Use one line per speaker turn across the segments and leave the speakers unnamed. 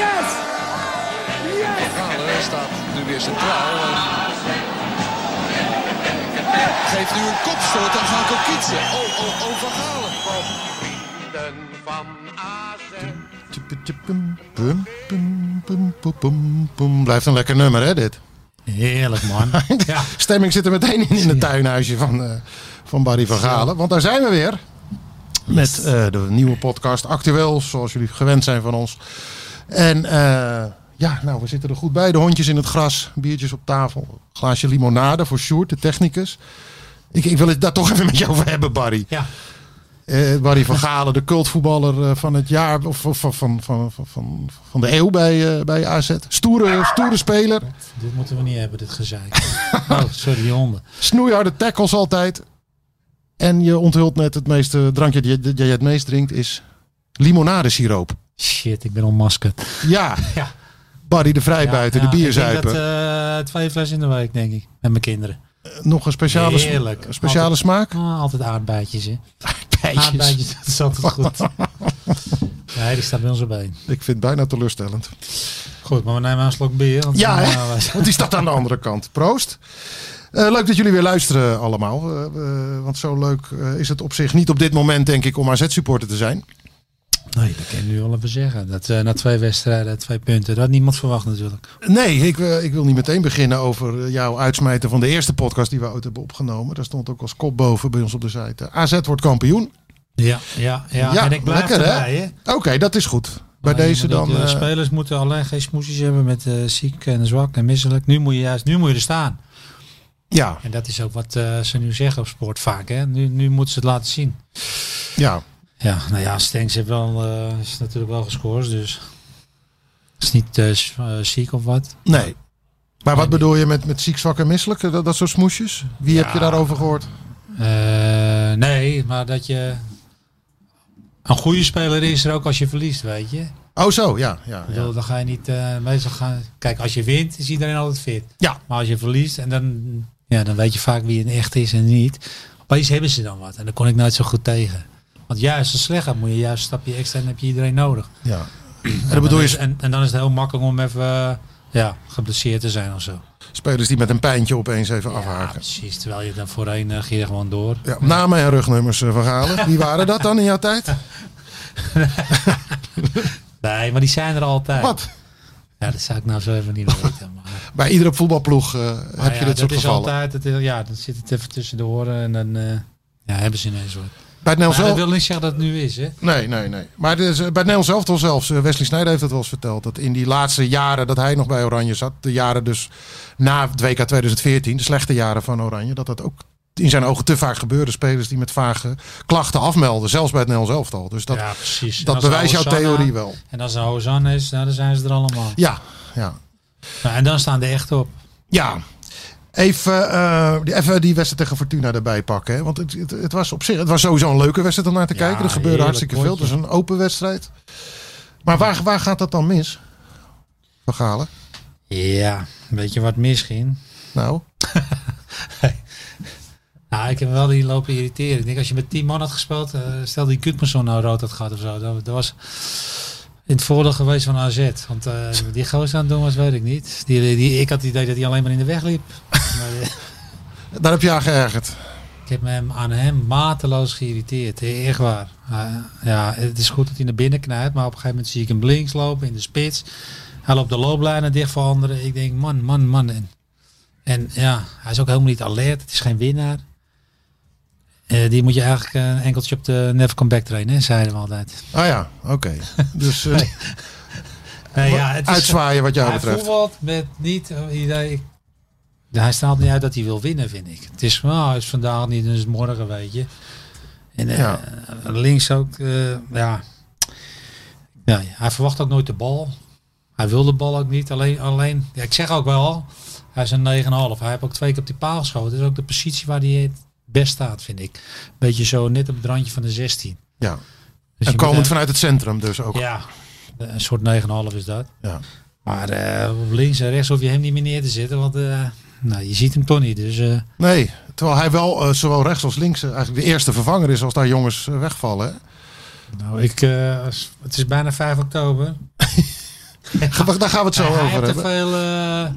Yes! Yes!
Galen staat nu weer centraal. eh, En geeft nu een kopstoot aan Gaan Kokitsen. Oh, oh, oh, Van Galen.
Tjupetjepum, pum, pum, pum, pum, pum, pum. Blijft een lekker nummer, hè, dit?
Heerlijk, man. ja.
Stemming zit er meteen in in het tuinhuisje van, eh, van Barry van Galen. Want daar zijn we weer. Met eh, de nieuwe podcast Actueel, zoals jullie gewend zijn van ons. En eh, ja, nou, we zitten er goed bij. De hondjes in het gras, biertjes op tafel. Glaasje limonade voor Sjoerd, de technicus. Ik, ik wil het daar toch even met jou over hebben, Barry.
ja.
Eh, Barry van Galen, de cultvoetballer eh, van het jaar, of of- van, van, van, van, van de eeuw bij, eh, bij AZ. Stoere, stoere speler,
Dit moeten we niet hebben, dit gezeik. oh, sorry, die honden.
snoeiharde tackles altijd. En je onthult net het meeste drankje dat je- dat jij het meest drinkt is limonadesiroop.
Shit, ik ben onmaskerd.
Ja,
Ja.
Barry de Vrijbuiten,
Ja,
de
ja, Ik
bierzuipen.
denk dat, eh, twee flessen in de week, denk ik. Met mijn kinderen.
Nog een speciale, sm-
Heerlijk.
speciale
Altijd-
smaak.
Ah, altijd aardbeidjes, hè.
Bijtjes.
Aardbeidjes, dat is altijd goed. nee, die staat bij ons erbij.
Ik vind het bijna teleurstellend.
Goed, maar we nemen een slok bier. Want
Ja,
dan,
hè?
eh, wij-
want die staat aan de andere kant. Proost. Eh, leuk dat jullie weer luisteren allemaal. Eh, eh, want zo leuk eh, is het op zich niet op dit moment, denk ik, om AZ-supporter te zijn.
Nee, dat kan je nu wel even zeggen. Dat eh, na twee wedstrijden, twee punten. Dat had niemand verwacht natuurlijk.
Nee, ik, eh, ik wil niet meteen beginnen over eh, jouw uitsmijten van de eerste podcast die we ooit hebben opgenomen. Daar stond ook als kop boven bij ons op de site. eh, AZ wordt kampioen.
Ja, ja, ja. en ik blijf
lekker, hè?
erbij, hè.
Oké, dat is goed. Bij
Nee,
deze
maar dat,
dan.
eh,
eh,
spelers moeten alleen geen smoesjes hebben met eh, ziek en zwak en misselijk. Nu moet je juist, nu moet je er staan.
ja,
En dat is ook wat eh, ze nu zeggen op sport vaak. Hè? Nu, nu moeten ze het laten zien.
ja.
Ja, nou ja, Stenks heeft wel, eh, is natuurlijk wel gescoord, dus is niet eh, z- eh, ziek of wat.
Nee. Maar wat bedoel je met, met ziek, zwak en misselijk? Eh, Dat, dat soort smoesjes? Wie heb je daarover gehoord?
Eh, nee, maar dat je een goede speler is er ook als je verliest, weet je. Ik
Oh, zo, ja. ja, ja.
bedoel, dan ga je niet eh, meestal gaan. Kijk, als je wint, is iedereen altijd fit.
Ja.
Maar als je verliest en dan, ja, dan weet je vaak wie een echt is en niet. Opeens hebben ze dan wat en daar kon ik nooit zo goed tegen. Want juist als het slecht gaat, moet je juist een stapje extra en heb je iedereen nodig.
ja. En dat bedoel
Dan
je
is- en, en dan is het heel makkelijk om even eh, ja, geblesseerd te zijn of zo.
Spelers die met een pijntje opeens even
Ja,
afhaken.
precies. Terwijl je dan voorheen eh, ging je gewoon door.
Ja, namen en rugnummers eh, van Galen. Wie waren dat dan in jouw tijd?
Nee, maar die zijn er altijd.
Wat?
Ja, dat zou ik nou zo even niet weten. Maar,
Bij iedere voetbalploeg eh,
maar
heb je
Nou ja,
dit
dat
soort
is
gevallen.
altijd. Het, is- ja, dan zit het even tussendoor en dan eh, ja, hebben ze ineens wat.
Bij het Nederlands
Maar dat
zelf...
wil niet zeggen dat het nu is, hè?
Nee, nee, nee. Maar dus, eh, bij het Nederlands elftal zelfs, eh, Wesley Sneijder heeft dat wel eens verteld. Dat in die laatste jaren dat hij nog bij Oranje zat, de jaren dus na het WK 2014, de slechte jaren van Oranje, dat dat ook in zijn ogen te vaak gebeurde. Spelers die met vage klachten afmelden, zelfs bij het Nederlands elftal. Dus dat,
ja, precies. En
dat
als er
bewijst jouw
Hosanna-
theorie wel.
En als er Hosanna is, nou, dan zijn ze er allemaal.
Ja, ja.
Nou, en dan staan de echt op.
Ja. Even, eh, die- even die wedstrijd tegen Fortuna erbij pakken. Hè? Want het, het, het was op zich het was sowieso een leuke wedstrijd om naar te
Ja,
kijken. Er gebeurde
heerlijk
hartstikke veel. Het was
potje.
een open wedstrijd. Maar waar, waar gaat dat dan mis? Van Galen?
Ja, weet je wat misging?
Nou,
Nou, ik heb wel die lopen irriteren. Ik denk als je met 10 man had gespeeld, eh, stel die Gudmundsson nou rood had gehad of zo, dat, dat was in het voordeel geweest van AZ. Want eh, wat die gozer aan het doen was, weet ik niet. Die, die, ik had het idee dat hij alleen maar in de weg liep. Maar, eh,
daar heb je aan geërgerd.
ik heb me hem aan hem mateloos geïrriteerd, eh, echt waar. Eh, ja, het is goed dat hij naar binnen knijpt, maar op een gegeven moment zie ik hem links lopen in de spits. Hij loopt de looplijnen dicht voor anderen. Ik denk, man, man, man. En, en ja, hij is ook helemaal niet alert. Het is geen winnaar. Eh, die moet je eigenlijk eh, een enkeltje op de never come back trainen, hè, zeiden we altijd.
Ah ja, oké. Dus eh,
Nee, ja, het is,
uitzwaaien wat jou
hij
betreft.
voetbalt met niet... eh, idee, ik- Ja, hij straalt niet uit dat hij wil winnen, vind ik. Het is, nou, het is vandaag niet, dus morgen, weet je. En eh,
Ja.
links ook, eh, ja. ja. Hij verwacht ook nooit de bal. Hij wil de bal ook niet. Alleen, alleen ja, ik zeg ook wel, hij is een 9,5. Hij heeft ook twee keer op die paal geschoten. Dat is ook de positie waar hij het best staat, vind ik. Beetje zo net op het randje van de 16.
Ja.
Dus
en
je moet
komend
hem-
vanuit het centrum dus ook. Ja.
Ja, Eh, een soort 9,5 is dat. Maar eh, op links en rechts hoef je hem niet meer neer te zetten, want eh, nou, je ziet hem toch niet. Dus eh,
Nee, terwijl hij wel eh, zowel rechts als links eh, eigenlijk de eerste vervanger is als daar jongens eh, wegvallen. hè.
nou, ik, eh, als- het is bijna 5 oktober.
Gew- Daar gaan we het zo
hij heeft
over
te
hebben.
veel. eh,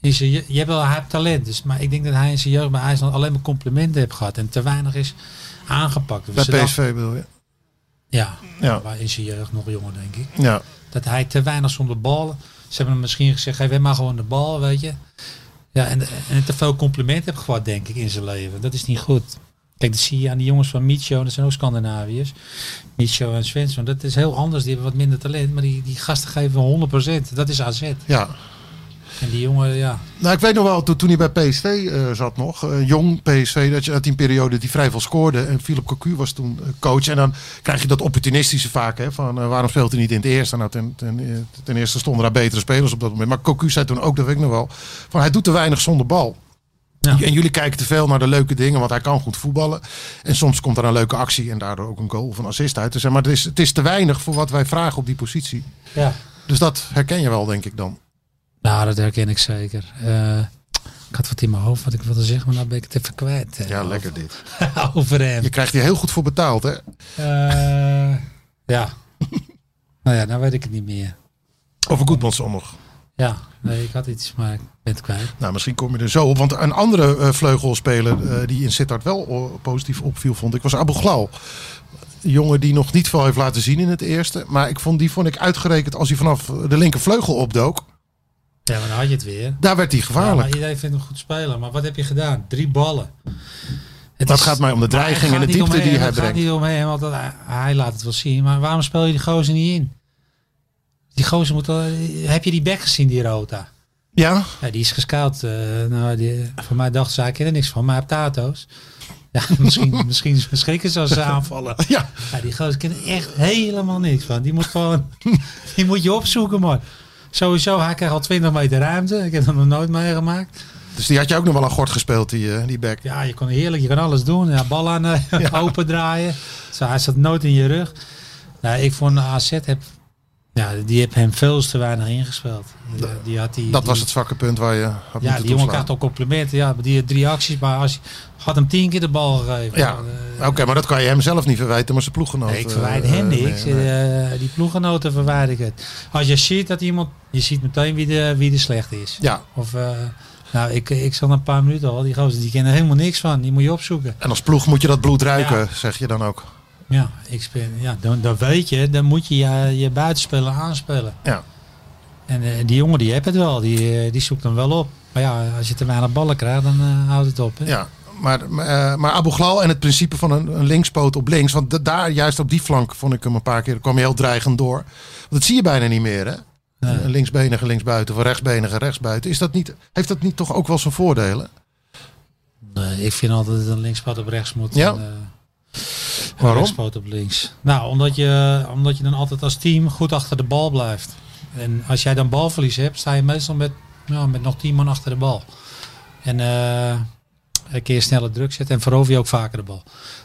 in zijn je, je hebt wel, hij heeft talent, dus, maar ik denk dat hij in zijn jeugd bij IJsland alleen maar complimenten heeft gehad en te weinig is aangepakt. Dus
Bij
ze dachten-
PSV bedoel je?
ja,
Ja.
maar in zijn jeugd nog jonger denk ik.
Ja.
Dat hij te weinig zonder bal. Ze hebben hem misschien gezegd, geef hem maar gewoon de bal, weet je. Ja, en, en te veel compliment heb gehad, denk ik, in zijn leven. Dat is niet goed. Kijk, dat zie je aan die jongens van Micho, dat zijn ook Scandinaviërs. Micho en Svensson, dat is heel anders. Die hebben wat minder talent, maar die, die gasten geven 100%. Dat is AZ.
ja.
En die jongen, ja.
Nou, ik weet nog wel, toen, toen hij bij PSV eh, zat nog, eh, jong PSV, dat je uit die periode die vrij veel scoorde. En Philip Cocu was toen eh, coach. En dan krijg je dat opportunistische vaak, hè, van eh, waarom speelt hij niet in het eerste? Nou, ten, ten, eh, ten eerste stonden daar betere spelers op dat moment. Maar Cocu zei toen ook, dat weet ik nog wel, van hij doet te weinig zonder bal.
Ja.
En jullie kijken te veel naar de leuke dingen, want hij kan goed voetballen. En soms komt er een leuke actie en daardoor ook een goal of een assist uit. Dus, eh, maar het is, het is te weinig voor wat wij vragen op die positie.
ja.
Dus dat herken je wel, denk ik dan.
Nou, dat herken ik zeker. Eh, ik had wat in mijn hoofd wat ik wilde zeggen, maar nou ben ik het even kwijt. eh,
Ja, lekker dit.
Over hem.
Je krijgt hier heel goed voor betaald, hè?
Eh, ja. nou ja, nou weet ik het niet meer.
Over Goedmanson nog.
Ja, nee, ik had iets, maar ik ben het kwijt.
Nou, misschien kom je er zo op. Want een andere eh, vleugelspeler eh, die in Sittard wel o- positief opviel, vond ik, was Abu Glal. Een jongen die nog niet veel heeft laten zien in het eerste. Maar ik vond, die vond ik uitgerekend als hij vanaf de linkervleugel opdook.
Ja, maar dan had je het weer.
Daar werd hij
Ja, maar
gevaarlijk.
iedereen vindt hem goed spelen. Maar wat heb je gedaan? Drie ballen. Het
Dat
is-
gaat mij om de
Maar hij
dreiging
gaat
en de
niet
diepte
omheen,
die hij
het gaat
brengt.
niet omheen, want dat- hij- hij laat het wel zien. Maar waarom speel je die gozer niet in? Die gozer moet... wel- Heb je die bek gezien, die Rota?
Ja,
Ja, die is gescout. eh, nou, die, voor mij dacht ze, hij kent er niks van, maar hij heeft tato's. Ja, misschien, misschien schrikken ze als ze aanvallen.
ja.
Ja, die gozer kent er echt helemaal niks van. Die moet gewoon, die moet je opzoeken, man. Sowieso, hij krijgt al 20 meter ruimte. Ik heb dat nog nooit meegemaakt.
Dus die had je ook nog wel aan gort gespeeld, die, eh, die back.
Ja, je kan heerlijk, je kan alles doen. Ja, bal aan eh, open draaien. Zo, hij zat nooit in je rug. Nou, ik vond AZ heb, ja, die heb hem veel te weinig ingespeeld. Ja, die had die,
Dat
die-
was het zwakke punt waar je had
ja,
moeten
die jongen
toeslaan.
krijgt al complimenten. Ja, die had drie acties, maar als je, had hem tien keer de bal gegeven.
Ja,
Dan, eh,
oké, maar dat kan je hem zelf niet verwijten, maar zijn ploeggenoot.
Nee, ik
eh,
verwijt hem
eh,
niks.
nee, nee.
Eh, die ploegenoten verwijder ik het. Als je ziet dat iemand... Je ziet meteen wie de, wie de slecht is.
Ja,
Of... eh, nou, ik, ik zal een paar minuten al. Die gozer, die kennen er helemaal niks van. Die moet je opzoeken.
en als ploeg moet je dat bloed ruiken, zeg je dan ook.
Ja, ik speel, ja dan, dan weet je. Dan moet je je, je buitenspeler aanspelen.
Ja.
En eh, die jongen, die heeft het wel. Die, eh, die zoekt hem wel op. Maar ja, als je te weinig ballen krijgt, dan eh, houdt het op. Hè?
Ja, maar, maar, eh, maar Abu Ghlal en het principe van een, een linkspoot op links. Want da- daar, juist op die flank, vond ik hem een paar keer, kwam hij heel dreigend door. Want dat zie je bijna niet meer, hè?
Nee.
Een linksbenige linksbuiten of een rechtsbenige rechtsbuiten. Is dat niet, heeft dat niet toch ook wel zijn voordelen?
Nee, ik vind altijd dat een linkspad op rechts moet.
Ja.
en, eh, een
Waarom?
rechtspoot op links. Nou, omdat je, omdat je dan altijd als team goed achter de bal blijft. En als jij dan balverlies hebt, sta je meestal met, ja, met nog tien man achter de bal. En eh, een keer snelle druk zetten en verover je ook vaker de bal.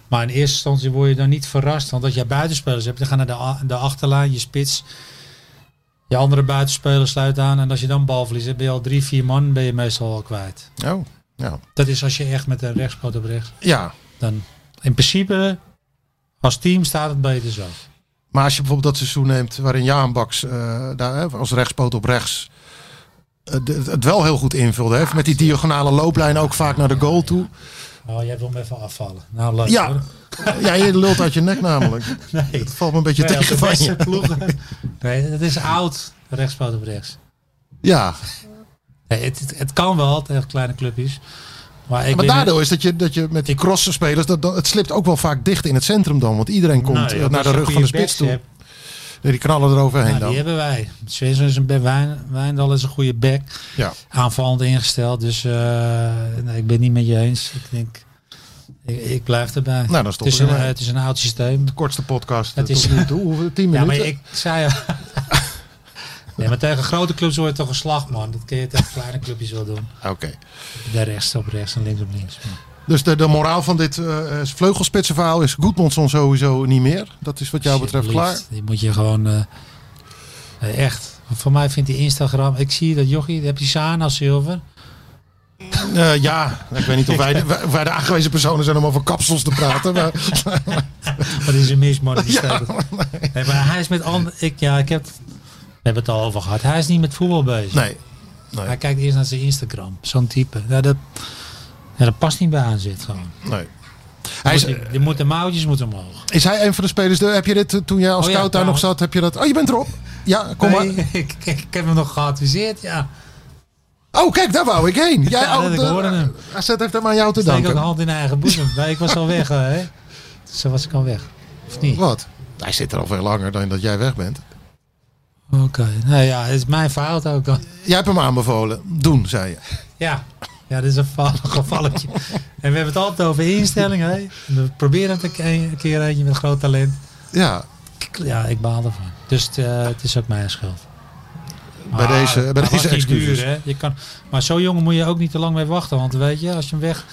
Maar in eerste instantie word je dan niet verrast. Want als jij buitenspelers hebt, dan gaan naar de, a- de achterlijn, je spits. Je andere buitenspeler sluit aan. En als je dan balverlies hebt, ben je al drie, vier man ben je meestal al kwijt.
Oh, ja.
Dat is als je echt met een rechtspoot op rechts.
ja.
Dan in principe, als team staat het beter zo.
Maar als je bijvoorbeeld dat seizoen neemt waarin Jaan Baks eh, daar, hè, als rechtspoot op rechts eh, de- het wel heel goed invulde. Hè? Met die diagonale looplijn ook vaak naar de goal toe.
Oh, jij wil hem even afvallen. Nou, leuk
Ja.
hoor.
Ja, je lult uit je nek namelijk.
Nee.
Het valt me een beetje
Wij als de
tegen van
beste
je.
ploegen. Nee, dat is oud, rechtspoot op rechts.
Ja,
Nee, het, het, het kan wel tegen kleine clubjes. Maar, ik
maar
ben-
daardoor is dat je, dat je met die crossen spelers, dat, dat- het slipt ook wel vaak dicht in het centrum dan. Want iedereen komt
Nou ja,
eh,
als
naar de
je
rug van
goede
de spits
backs
toe.
hebt,
Nee, die knallen eroverheen
nou,
dan.
die hebben wij. Zwitser is een back, Wijn- Wijndal is een goede back.
Ja.
Aanvallend ingesteld. Dus eh, nee, ik ben het niet met je eens. Ik denk, ik, ik blijf erbij.
Nou, dan
het, is
stoppen
een,
we. ermee.
het is een oud systeem.
Kortste podcast
Het
eh,
is-
tot nu toe. Hoeveel? Tien
Ja, maar
minuten?
ik zei al. Ja, maar tegen grote clubs wordt toch een slag, man. Dat kun je tegen kleine clubjes wel doen.
Oké.
Daar rechts op rechts en links op links.
Dus de, de moraal van dit eh vleugelspitsenverhaal is Goedmondson sowieso niet meer. Dat is wat jou betreft klaar.
Alsjeblieft. Die moet je gewoon... eh, eh, echt. Voor mij vindt die Instagram... Ik zie dat jochie, heb je Sana Silver.
Eh, ja, ik weet niet of wij, de- wij- of wij de aangewezen personen zijn om over kapsels te praten. Maar,
Wat is een mis, man. Die staat er. nee, maar hij is met... ander- Ik, ja, ik heb... het- We hebben het al over gehad. Hij is niet met voetbal bezig.
nee.
Hij kijkt eerst naar zijn Instagram. Zo'n type. Ja, dat, ja, dat past niet bij aan zit gewoon.
nee. Hij is,
Je, je moet de mouwtjes moeten omhoog.
is hij een van de spelers? Heb je dit eh, toen jij als
Oh ja,
scout daar nog zat?
trouwens.
Heb je dat? Oh, je bent erop. Ja, kom
Nee,
maar.
ik, ik, ik heb hem nog geadviseerd, ja.
Oh, kijk, daar wou ik heen. Jij,
Ja,
oh,
ik
de-
hoorde hem.
AZ heeft hem aan jou te
Steek ook een
danken.
hand in eigen boezem. Nee, ik was al weg, eh, hè. Zo was ik al weg. Of niet?
Wat? Hij zit er al veel langer dan dat jij weg bent.
Oké. Nou ja, het is mijn fout ook dan.
Jij hebt hem aanbevolen. Doen, zei je.
Ja. Ja, dit is een val- gevalletje. En we hebben het altijd over instellingen, hè. We proberen het een ke- een keer eentje met groot talent.
Ja,
Ja, ik baal ervan. Dus het, eh, het is ook mijn schuld.
bij
Maar
deze, bij
hij Ah, was
deze
niet
excuses.
duur, hè? Je kan, maar zo'n jongen moet je ook niet te lang mee wachten. Want weet je, als je hem weg...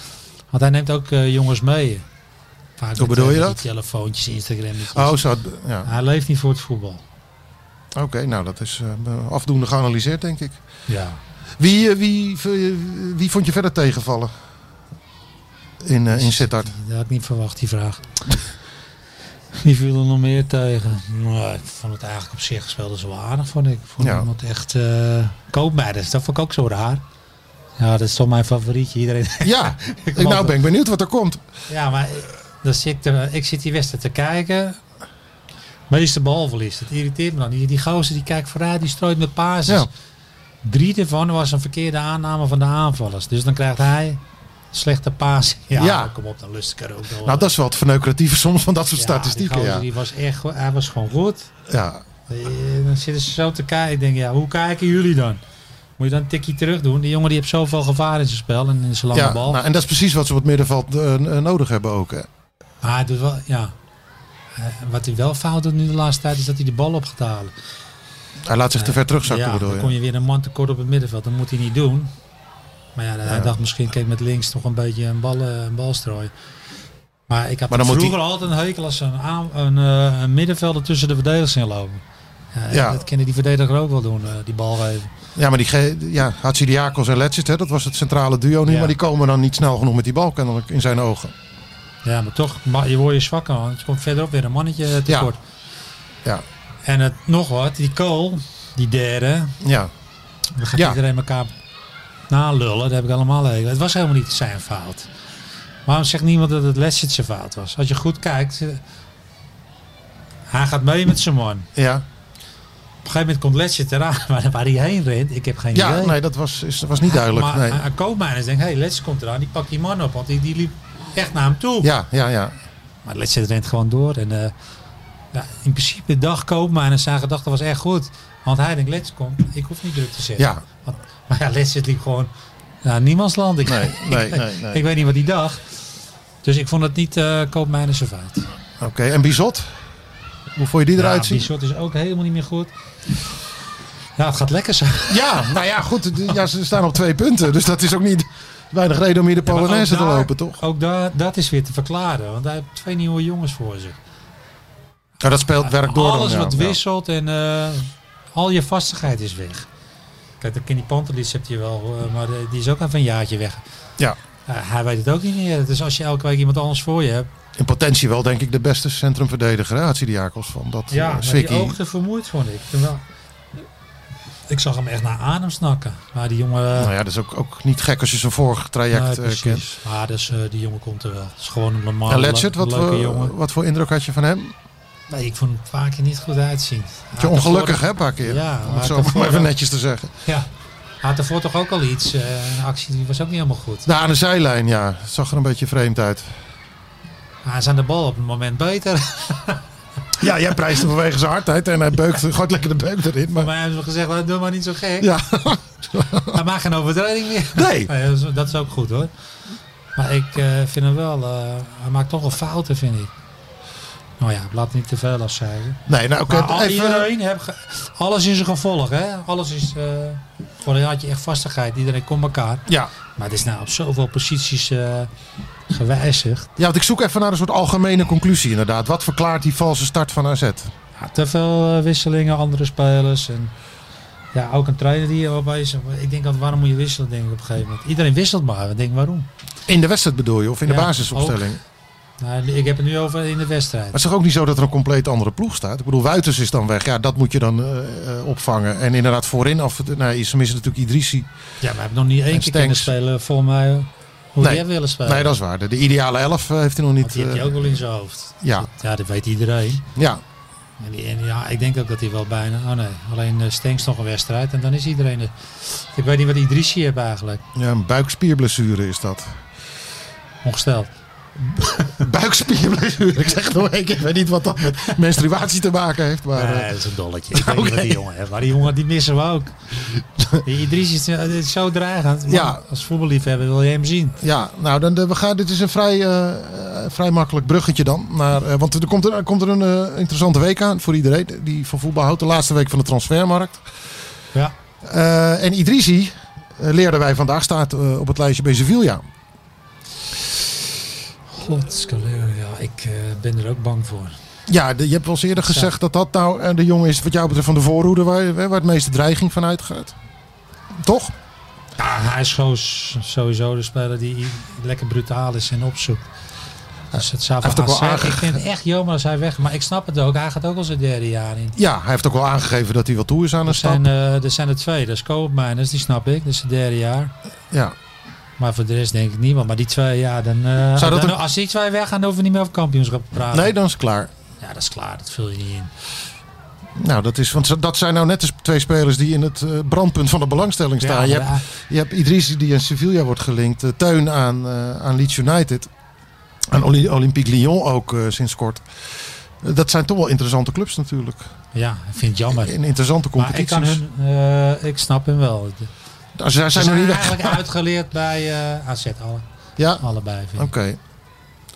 Want hij neemt ook eh, jongens mee. Vaak met,
bedoel
eh,
je
met
dat?
Die telefoontjes, Instagram.
Oh, zo. Ja.
Hij leeft niet voor het voetbal.
Oké, nou dat is eh, afdoende geanalyseerd, denk ik.
Ja.
Wie, eh, wie, v- wie vond je verder tegenvallen? In, eh, in Sittard.
Dat had ik niet verwacht, die vraag. Die viel er nog meer tegen. Nou, ik vond het eigenlijk op zich wel eens wel aardig, vond ik. Ik Vond
Ja.
iemand echt... eh koopmeiders, dat vond ik ook zo raar. Ja, dat is toch mijn favorietje. Iedereen...
Ja, ik,
wou
nou
het.
ben ik benieuwd wat er komt.
Ja, maar dan zit ik, er, ik zit die wedstrijd te kijken. Meeste balverlies, dat irriteert me dan. Die, die gozer die kijkt vooruit, die strooit met pases.
Ja.
Drie daarvan was een verkeerde aanname van de aanvallers. Dus dan krijgt hij slechte paas. Ja,
Ja.
kom op, dan lust ik er ook nog.
Nou, dat is wel het verneukeratieve soms van dat soort statistieken.
Die, gozer,
Ja.
die was echt, go- hij was gewoon goed.
Ja.
Eh, Dan zitten ze zo te kijken. Ik denk, ja, hoe kijken jullie dan? Moet je dan een tikje terug doen? Die jongen die heeft zoveel gevaar in zijn spel en in zijn lange
Ja,
bal.
nou, en dat is precies wat ze op het middenveld eh, n- nodig hebben ook. Hè.
Maar hij doet wel, ja. Eh, wat hij wel fout doet nu de laatste tijd is dat hij de bal op gaat halen.
Hij laat zich te ver terugzakken,
ja,
bedoel
dan kom
je?
je weer een man tekort op het middenveld. Dat moet hij niet doen. Maar ja, hij dacht misschien kijk met links nog een beetje een bal, eh, een bal strooien. Maar ik had
Maar dan moet
vroeger altijd een hekel als een, aan- een, eh, een middenvelder tussen de verdedigers in lopen. Ja,
Ja.
Dat kunnen die verdediger ook wel doen, eh, die bal geven.
Ja, maar die ge- ja, Hatsidiakos en Letchit, hè, dat was het centrale duo nu.
Ja.
Maar die komen dan niet snel genoeg met die bal kennelijk in zijn ogen.
Ja, maar toch, ma- je wordt je zwakker, want je komt verderop weer een mannetje eh,
Ja.
tekort.
Ja.
En het, nog wat, die Kool, die derde,
Ja,
Dan gaat
Ja.
iedereen elkaar nalullen. Dat heb ik allemaal leuk. Het was helemaal niet zijn fout. Waarom zegt niemand dat het Lessert zijn fout was? Als je goed kijkt. eh, Hij gaat mee met zijn man. Op
ja.
een gegeven moment komt Lessert eraan. Maar waar hij heen rent, ik heb geen
ja
idee.
nee, dat was, is, was niet duidelijk.
maar
nee.
een- een koopmijners denkt, hé, hey, Lessert komt eraan. Die pakt die man op. Want die, die liep echt naar hem toe.
Ja, ja, ja.
Maar Lessert rent gewoon door. En eh, ja, in principe dacht koopmijners zijn gedachte was echt goed. Want hij denkt, Lessert komt. Ik hoef niet druk te zetten.
Ja,
Want- maar ja, Lessert liep gewoon naar niemandsland. Ik,
nee, nee,
ik,
nee. nee.
ik weet niet wat die dacht. Dus ik vond het niet eh koopmijnen zijn fout.
Oké, en Bizot? Hoe vond je die eruit zien?
die shot is ook helemaal niet meer goed. Ja, het gaat lekker zijn.
Ja, nou ja, goed. d- Ja, ze staan op twee punten. Dus dat is ook niet weinig reden om hier de
Ja, maar ook
Polonaise te
daar-
lopen, toch?
Ook daar, dat is weer te verklaren. Want hij heeft twee nieuwe jongens voor zich.
Ja, Nou, dat speelt werk door.
Alles
dan, ja.
wat
Ja.
wisselt en eh, al je vastigheid is weg. Kijk, de Kenny Pantelis heb je wel, eh, maar eh, die is ook even een jaartje weg.
Ja.
Eh, hij weet het ook niet meer. Dus als je elke week iemand anders voor je hebt.
In potentie wel, denk ik, de beste centrumverdediger. Hè? Had Sidiakos van dat eh,
Ja,
ja,
maar eh, die oogde vermoeid vond ik. Terwijl, ik zag hem echt naar adem snakken. Maar die jongen... eh,
Nou ja, dat is ook, ook niet gek als je zijn vorig
nee,
traject eh, kent.
precies. Maar dus, eh, die jongen komt er wel. Het is gewoon een normale,
En Letchert,
le-
wat, eh,
leuke
voor-
jongen.
wat voor indruk had je van hem?
Nee, ik vond hem vaak hier niet goed uitzien.
Dat je ongelukkig, hè, een paar keer.
Ja,
om
maar
het zo
dat
maar
voor-
even netjes te zeggen.
Ja, hij had ervoor toch ook al iets. eh, een actie die was ook niet helemaal goed.
Daar Nou, aan de zijlijn, ja. Het zag er een beetje vreemd uit.
Hij is aan de bal op het moment beter.
Ja, jij prijst hem vanwege zijn hardheid. En hij beukt, gooit lekker de beuk erin. Maar
maar hij heeft gezegd, "Nou, doe maar niet zo gek.
ja,
Hij maakt geen overtreding meer.
nee.
Nee, dat is- dat is ook goed hoor. Maar ik eh, vind hem wel, eh, hij maakt toch wel fouten, vind ik. Nou ja, laat niet te veel afzeiken.
Nee, nou,
Maar
oké,
al-
even...
iedereen heeft ge- alles is een gevolg, hè? Alles is. eh, voorheen had je echt vastigheid, iedereen komt elkaar.
Ja.
Maar het is nou op zoveel posities eh, gewijzigd.
ja, want ik zoek even naar een soort algemene conclusie inderdaad. Wat verklaart die valse start van AZ?
Ja, te veel eh, wisselingen, andere spelers. En ja, ook een trainer die erbij is. Ik denk altijd, waarom moet je wisselen, denk ik op een gegeven moment. Iedereen wisselt maar. Ik denk, waarom?
In de wedstrijd bedoel je, of in de
Ja,
basisopstelling?
Nou, ik heb het nu over in de wedstrijd.
Maar het is toch ook niet zo dat er een compleet andere ploeg staat? Ik bedoel, Wuiters is dan weg. Ja, dat moet je dan eh, eh, opvangen. En inderdaad voorin, of, nou, ze missen natuurlijk Idrissi.
Ja, maar we hebben nog niet één keer
Stenks.
kunnen spelen voor mij hoe die
Nee.
hebben willen spelen.
nee, dat is waar. De, de ideale elf eh, heeft hij nog niet.
Want Eh, die heeft
eh,
hij ook wel in zijn hoofd.
ja,
Ja, dat weet iedereen.
ja.
En, die- en ja, ik denk ook dat hij wel bijna... Oh nee, alleen eh, Stenks nog een wedstrijd. En dan is iedereen... er. ik weet niet wat Idrissi heeft eigenlijk.
ja, een buikspierblessure is dat.
Ongesteld.
buikspierblessure, ik zeg het nog één keer. Ik weet niet wat dat met menstruatie te maken heeft. Maar, eh,
Nee, dat is een dolletje. Ik weet
Oké.
niet wat die jongen heeft. Maar die jongen, die missen we ook. Die Idrissi is, eh, is zo dreigend. Man,
Ja.
Als voetballiefhebber wil je hem zien.
Ja, nou, dan, eh, we gaan, dit is een vrij, eh, eh, vrij makkelijk bruggetje dan. Naar, eh, want er komt, er, er komt er een eh, interessante week aan voor iedereen die van voetbal houdt. De laatste week van de transfermarkt.
Ja.
Eh, en Idrisi, eh, leerden wij vandaag, staat eh, op het lijstje bij Sevilla.
Godskaleer, ja. Ik eh, ben er ook bang voor.
Ja, de- je hebt wel eens eerder gezegd dat dat nou eh, de jongen is wat jou betreft van de voorhoede waar, hè, waar het meeste dreiging van uitgaat. Toch?
Ja, hij is gewoon s- sowieso de speler die i- lekker brutaal is en opzoekt. Dus het zou
Hij
van
heeft ook wel
AZ Ik vind het echt jammer als hij weg Maar ik snap het ook. Hij gaat ook al zijn derde jaar in.
Ja, hij heeft ook wel aangegeven dat hij wel toe is aan
Er
een stap.
zijn, eh, er zijn er twee. Dat is Koopmijners, die snap ik. Dat is het derde jaar.
Ja.
Maar voor de rest denk ik niemand. Maar die twee, ja, dan... eh,
Zou dat
dan-
een-
Als die twee weggaan, dan hoeven we niet meer over kampioenschap te praten.
Nee, dan is het klaar.
Ja, dat is klaar. Dat vul je niet in.
Nou, dat is, want dat zijn nou net de twee spelers die in het eh, brandpunt van de belangstelling
Ja,
staan. je, hebt,
maar- eh,
je hebt Idrissi die aan Sevilla wordt gelinkt. eh, Teun aan, eh, aan Leeds United. Aan Oli- Olympique Lyon ook eh, sinds kort. Eh, dat zijn toch wel interessante clubs natuurlijk.
ja, ik vind het jammer.
In interessante
Maar ik,
competities.
kan hun, eh, ik snap hem wel. Ze
Als zij zijn
zijn
er niet weg.
eigenlijk uitgeleerd bij eh, AZ. Alle,
Ja, oké.
allebei, vind ik.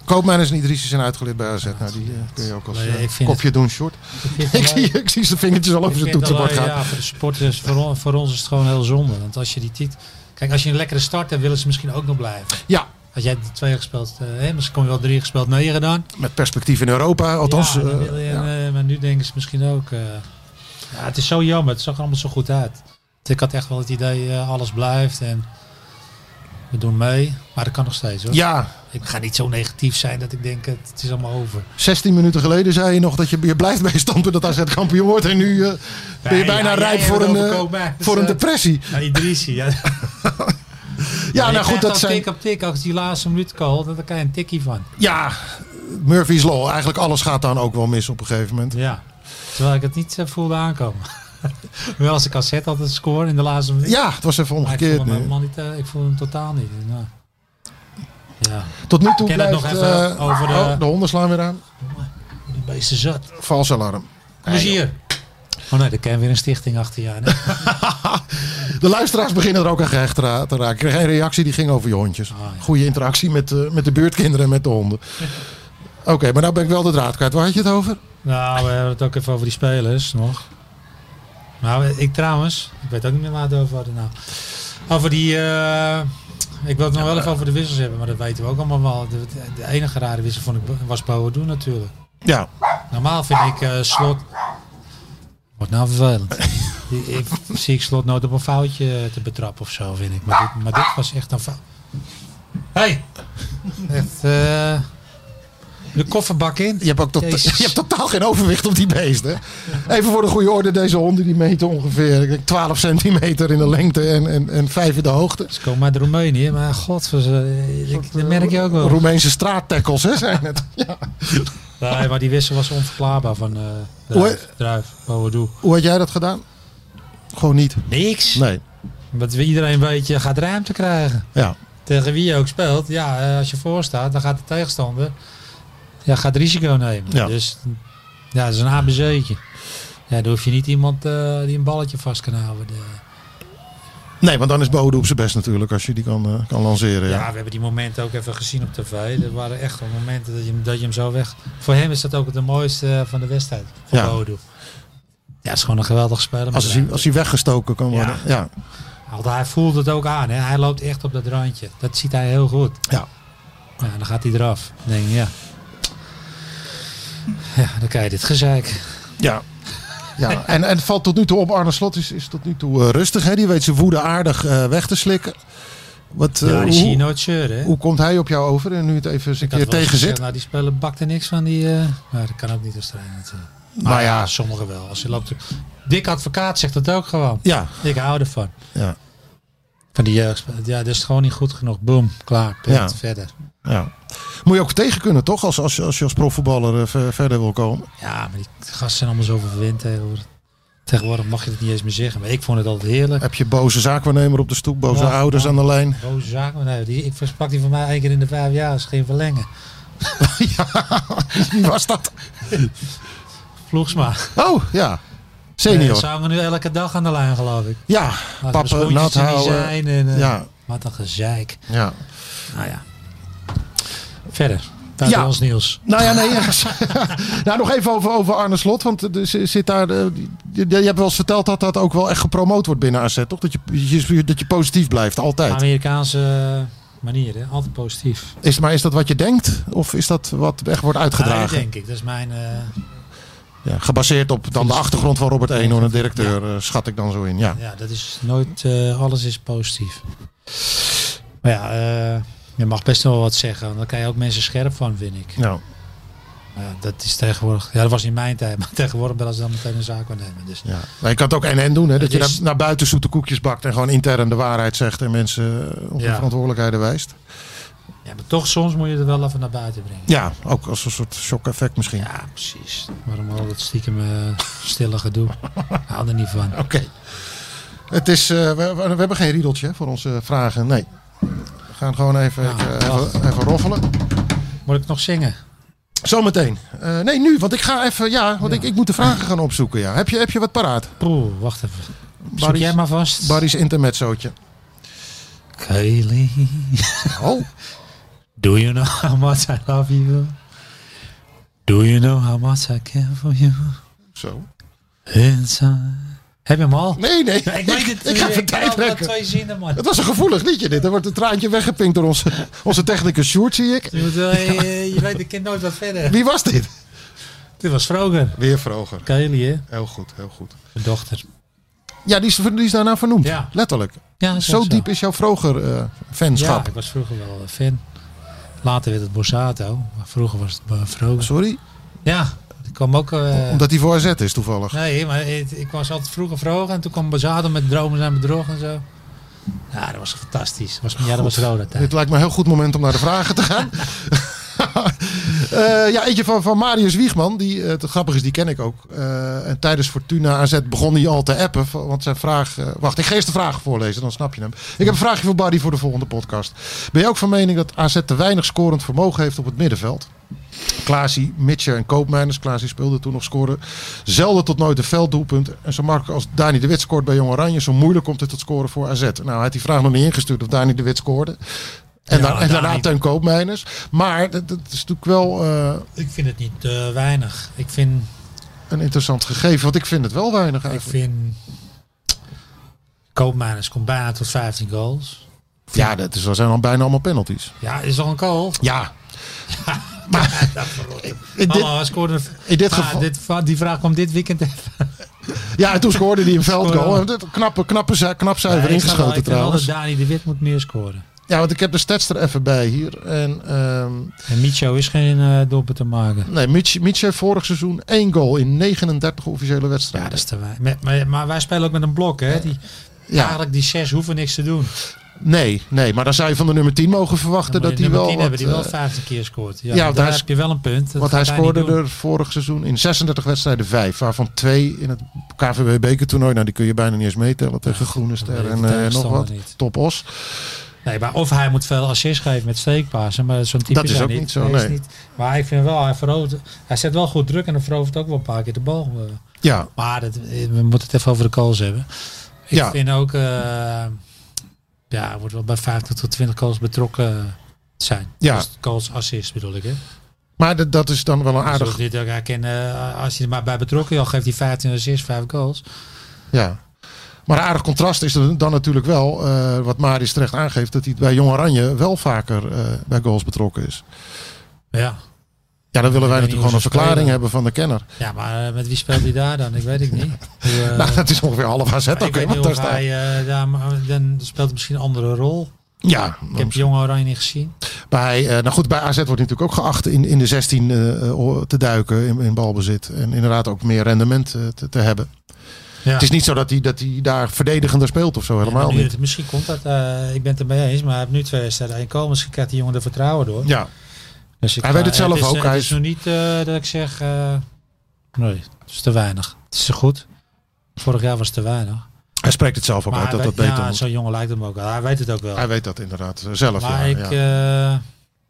Koopmijners en Idrissi zijn uitgeleerd bij AZ. Nou, die eh, kun je ook als
Nee,
eh,
ik vind
kopje doen, short.
Ik vind het
Ik
alleen-
zie, ik zie zijn vingertjes al over
ik
zijn
vind het
toetsenbord
alleen,
gaan.
Ja, voor de sporters, voor, on- voor ons is het gewoon heel zonde. Want als je die titel... Kijk, als je een lekkere start hebt, willen ze misschien ook nog blijven.
Ja,
Als jij de twee gespeeld, eh, hè, misschien kom je wel drie gespeeld, negen dan.
met perspectief in Europa. Althans,
ja, dan
eh,
wil je,
ja.
eh, maar nu denken ze misschien ook... eh, ja, het is zo jammer, het zag er allemaal zo goed uit. Ik had echt wel het idee, eh, alles blijft en we doen mee. Maar dat kan nog steeds hoor.
ja,
Ik ga niet zo negatief zijn dat ik denk, het, het is allemaal over.
16 minuten geleden zei je nog dat je, je blijft bij je standpunt dat AZ kampioen wordt. En nu eh, ben je
Nee,
bijna
ja, jij
rijp
hebt
voor,
het
een,
over
eh,
Koopmeiners,
voor een
eh.
depressie.
Ja, Idrissi, ja.
Ja, nou goed, dat
als
zijn...
tik op tik, als die laatste minuut call, dan krijg je een tikkie van.
Ja, Murphy's Law. Eigenlijk alles gaat dan ook wel mis op een gegeven moment.
Ja. Terwijl ik het niet eh, voelde aankomen. Wel als ik cassette had het score in de laatste minuut.
Ja, het was even
Maar ik voelde
omgekeerd
hem
nu.
helemaal niet, eh, ik voelde hem totaal niet. Nou. Ja,
Tot nu toe
Ken het
blijft...
nog even
eh,
over de-
oh, de honden slaan weer aan.
die beesten zat.
Vals alarm.
Plezier. Oh nee, daar ken weer een stichting achter je aan. hè?
De luisteraars beginnen er ook aan gehecht ra- te raken. Ik kreeg een reactie die ging over je hondjes.
Ah, ja.
Goede interactie met, eh, met de buurtkinderen en met de honden. Oké, maar nou ben ik wel de draad kwijt. Waar had je het over?
nou, we hebben het ook even over die spelers nog. Nou, ik trouwens, ik weet ook niet meer waar we het over hadden. Nou. Over die, eh, ik wil het nog wel even over de wissels hebben, maar dat weten we ook allemaal wel. De, de- de enige rare wissel vond ik, was Boadu natuurlijk.
Ja,
Normaal vind ik eh, slot. Wordt nou vervelend. ik, ik, zie ik slot nooit op een foutje te betrappen of zo, vind ik. Maar dit, maar dit was echt een fout. Hey! Echt, eh, de kofferbak in.
Je hebt, ook tot,
Jezus.
je hebt totaal geen overwicht op die beesten. Even voor de goede orde, deze honden die meten ongeveer ik denk, 12 centimeter in de lengte en, en, en 5 in de hoogte.
Ze komen uit Roemenië, maar god, ze- ze- ik- dat merk je ook wel.
Roemeense straattackles hè, zijn het. Ja.
Nee, maar die wissel was onverklaarbaar van eh Druif, Druif, Boadu.
Hoe had jij dat gedaan? Gewoon niet.
Niks.
Nee.
Want iedereen weet, je gaat ruimte krijgen.
Ja.
Tegen wie je ook speelt, ja, eh, als je voor staat, dan gaat de tegenstander ja, gaat risico nemen.
Ja.
Dus ja, dat is een ABC'tje. Ja, dan hoef je niet iemand eh, die een balletje vast kan houden. De-
Nee, want dan is Bode op zijn best natuurlijk als je die kan, eh, kan lanceren.
Ja,
Ja.
we hebben die momenten ook even gezien op tv. Er waren echt wel momenten dat je, hem- dat je hem zo weg... Voor hem is dat ook het mooiste eh, van de wedstrijd. Voor
Ja.
ja. Ja, het is gewoon een geweldig speler.
Als, hij, als hij weggestoken kan worden. Ja. Ja.
Want hij voelt het ook aan. Hè? Hij loopt echt op dat randje. Dat ziet hij heel goed.
Ja.
Ja, dan gaat hij eraf. Dan denk je, ja. Ja, dan krijg je dit gezeik.
ja. en, en het valt tot nu toe op. Arne Slot is, is tot nu toe eh, rustig. Hè? Die weet zijn woede aardig eh, weg te slikken. Wat, eh,
Ja, die zie je
hoe,
nooit zeuren. hè?
hoe komt hij op jou over? En nu het even eens een
Ik had
keer
wel eens
tegen
gezegd,
zit.
Nou, die spelen bakte niks van die... eh, Maar dat kan ook niet als trainer natuurlijk.
Maar Nou ja,
Sommigen wel. Als je loopt... Dick Advocaat zegt dat ook gewoon.
ja.
Ik hou ervan.
Ja.
Van die jeugd. Ja, dat is gewoon niet goed genoeg. Boom, klaar, punt,
Ja.
verder.
ja. Moet je ook tegen kunnen toch? Als, als, je- als je als profvoetballer eh, ver- verder wil komen.
Ja, maar die gasten zijn allemaal zo verwend tegenwoordig. Tegenwoordig mag je het niet eens meer zeggen. Maar ik vond het altijd heerlijk.
Heb je boze zaakwaarnemer op de stoep. Boze
Ja,
ouders
ja.
aan de lijn.
Boze zaak. maar Nee, die, ik versprak die van mij één keer in de vijf jaar. is geen verlengen.
ja, wie was dat?
Vloegsma.
Oh, ja.
Ze
Senior.
hangen Eh, nu elke dag aan de lijn, geloof ik.
Ja,
Laten de
pappen,
schoentjes
nat
er niet
houden.
zijn en, eh,
Ja,
Wat een gezeik.
ja.
Nou ja. Verder. Buiten
Ja.
ons nieuws.
Nou ja, nee. ja. nou, nog even over, over Arne Slot. Want er zi- zit daar, eh, je, je hebt wel eens verteld dat dat ook wel echt gepromoot wordt binnen AZ, toch? Dat je, je- dat je positief blijft, altijd.
Amerikaanse eh, manier, hè? altijd positief.
Is, maar is dat wat je denkt? Of is dat wat echt wordt
Ah, dat
uitgedragen?
denk ik. Dat is mijn... eh,
Ja, gebaseerd op dan de achtergrond van Robert Eenhoorn, de directeur, eh, schat ik dan zo in. Ja.
Ja, dat is nooit, eh, alles is positief. Maar ja, eh, je mag best wel wat zeggen. want Daar kan je ook mensen scherp van, vind ik.
Nou,
Maar ja, dat is tegenwoordig, ja dat was in mijn tijd, maar tegenwoordig bellen ze dan meteen een zaak nemen. Dus
ja. Maar je kan het ook en en doen, hè? Dat
Het
je
is-
naar, naar buiten zoete koekjes bakt en gewoon intern de waarheid zegt en mensen eh, op hun
Ja.
verantwoordelijkheden wijst.
ja, maar toch soms moet je het wel even naar buiten brengen.
Ja, ook als een soort shock-effect misschien.
Ja, precies. Waarom al dat stiekem eh, stille gedoe? Ik Hou er niet van.
Oké. Het is, eh, we, we- we hebben geen riedeltje hè, voor onze vragen. Nee. We gaan gewoon even,
Ja,
ik, eh, even, even roffelen.
Moet ik nog zingen?
Zometeen. Eh, nee, nu, want ik ga even. Ja, want Ik, ik moet de vragen gaan opzoeken. Ja. Heb, je, heb je wat paraat?
Oeh, wacht even. Zoek
Barry's-
jij maar vast.
Barry's intermezzootje.
Kaylee,
Oh,
do you know how much I love you? Do you know how much I care for you?
zo.
Inside. Heb je hem al?
Nee, nee.
Ja, ik weet het.
Ik ga even
ik kan
tijd
altijd
rekken.
twee zinnen, man.
Het was een gevoelig liedje dit. Er wordt een traantje weggepinkt door onze, onze technicus Sjoerd, zie ik.
Je, moet wel- je, je weet, ik kind nooit wat verder.
Wie was dit?
Dit was Vroger.
Weer Vroger.
Kaylee, hè?
Heel goed, heel goed.
Mijn dochter.
Ja, die is, die is daarna vernoemd.
Ja.
Letterlijk.
Ja, dat is
Zo
ook
diep is jouw eh, Vroger-fanschap.
Ja, ik was vroeger wel eh, fan. Later werd het Borsato, maar vroeger was het eh, Vroger.
Sorry?
Ja, ik kwam ook... eh,
Omdat hij voor AZ is toevallig.
Nee, maar het- ik was altijd vroeger Vroger en toen kwam Borsato met Dromen zijn bedrog en zo. Ja, dat was fantastisch. Dat was, ja, dat was Roda tijd.
Dit lijkt me een heel goed moment om naar de vragen te gaan. Eh, ja, eentje van, van Marius Wiegman. Die, eh, het grappige is, die ken ik ook. Eh, en tijdens Fortuna AZ begon hij al te appen. van- Want zijn vraag... eh, wacht, ik ga eerst de vragen voorlezen, dan snap je hem. Ik heb een vraagje voor Barry voor de volgende podcast. Ben je ook van mening dat AZ te weinig scorend vermogen heeft op het middenveld? Klaasie, Mitchell en Koopmeiners. Klaasie speelde toen nog scoren. Zelden tot nooit een velddoelpunt. En zo makkelijk als Dani de Wit scoort bij Jong Oranje, zo moeilijk komt het tot scoren voor AZ. Nou, hij had die vraag nog niet ingestuurd of Dani de Wit scoorde. En,
Ja,
daar- en daarna
Dani.
Teun Koopmeiners. Maar dat, dat is natuurlijk wel eh,
Ik vind het niet eh, weinig. Ik vind
een interessant gegeven, want ik vind het wel weinig
Ik
eigenlijk.
vind Koopmeiners komt bijna tot 15 goals.
Ja, dat is, dat zijn dan bijna allemaal penalties.
Ja, is toch een goal?
Ja. Maar in dit,
Mama, hij scoorde een-
in dit
Ah,
geval...
dit va- die vraag kwam dit weekend even.
Ja, en toen scoorde hij een veldgoal.
Scoorde.
Een Knappe, knappe, zu- knap cijfer
Nee, ik snap wel,
ingeschoten
ik vind wel
trouwens.
dat Dani de Wit moet meer scoren.
Ja, want ik heb de stats er even bij hier. En ehm,
En Micho is geen eh doelpunt te maken.
Nee, Mitch, Mitch heeft vorig seizoen één goal in 39 officiële
Ja, dat
wedstrijden.
is te weinig. Maar, maar, maar wij spelen ook met een blok, hè? Die,
Ja,
Eigenlijk die zes hoeven niks te doen.
nee, nee, maar dan zou je van de nummer 10 mogen
Dan
verwachten
moet je
dat hij
nummer
wel.
10
Wat,
hebben die wel
eh,
15 keer scoort. Ja,
ja, want
daar
hij is-
heb je wel een punt. Dat
want
gaat
hij
niet
scoorde
doen.
er vorig seizoen in 36 wedstrijden 5, waarvan twee in het KVB bekertoernooi. Nou, die kun je bijna niet eens meetellen tegen Groene Ster
weet
en
de
eh, nog
tegenstander
wat.
niet.
Top Os.
Nee, maar of hij moet veel assist geven met steekpasen, maar zo'n type
Dat is
hij
ook niet zo,
Hij is
nee.
niet- maar ik vind wel, hij, verovert, hij zet wel goed druk en hij verovert ook wel een paar keer de bal. eh.
Ja,
Maar dat, we moeten het even over de calls hebben. Ik
Ja.
vind ook eh, ja, wordt wel bij 50 tot 20 goals betrokken eh, zijn.
Ja.
Dus goals assist bedoel ik, hè?
Maar dat, dat is dan wel een
Zoals
aardig...
dit ook herkennen, eh, als je er maar bij betrokken joh, geeft hij 15 assists, 5 goals.
Ja. Maar een aardig contrast is er dan natuurlijk wel, eh, wat Marius terecht aangeeft, dat hij bij Jong Oranje wel vaker eh, bij goals betrokken is.
Ja.
Ja, dan willen wij
Ik
natuurlijk
weet niet
gewoon
hoe
een
ze
verklaring
spelen.
hebben van de kenner.
ja, maar eh, met wie speelt hij daar dan? Ik weet het niet. Hoe, eh,
nou, dat is ongeveer half AZ
ik
ook, hè,
weet niet
want daar
of
staat.
hij eh, daar, maar dan speelt hij misschien een andere rol.
Ja,
Ik heb Jong Oranje niet gezien.
bij, eh, nou goed, bij AZ wordt natuurlijk ook geacht in, in de 16 eh, eh, te duiken in, in balbezit. En inderdaad ook meer rendement eh, te, te hebben.
Ja.
Het is niet zo dat hij, dat hij daar verdedigender speelt of zo,
Ja, maar
helemaal
nu
niet.
het- misschien komt dat, eh, ik ben het ermee eens, maar hij heeft nu twee wedstrijden één komen. Misschien krijgt die jongen er vertrouwen door.
Ja,
Dus ik,
Hij weet het
eh,
zelf
is,
ook,
eh,
hij
het is
is-
nog niet eh, dat ik zeg, eh, nee, het is te weinig. Het is te goed. Vorig jaar was het te weinig.
hij spreekt het zelf ook
Maar
uit dat
hij
dat
weet-
beter
ja,
moet.
zo'n jongen lijkt hem ook wel. Hij weet het ook wel.
Hij weet dat inderdaad zelf.
maar
ja,
ik,
ja.
eh,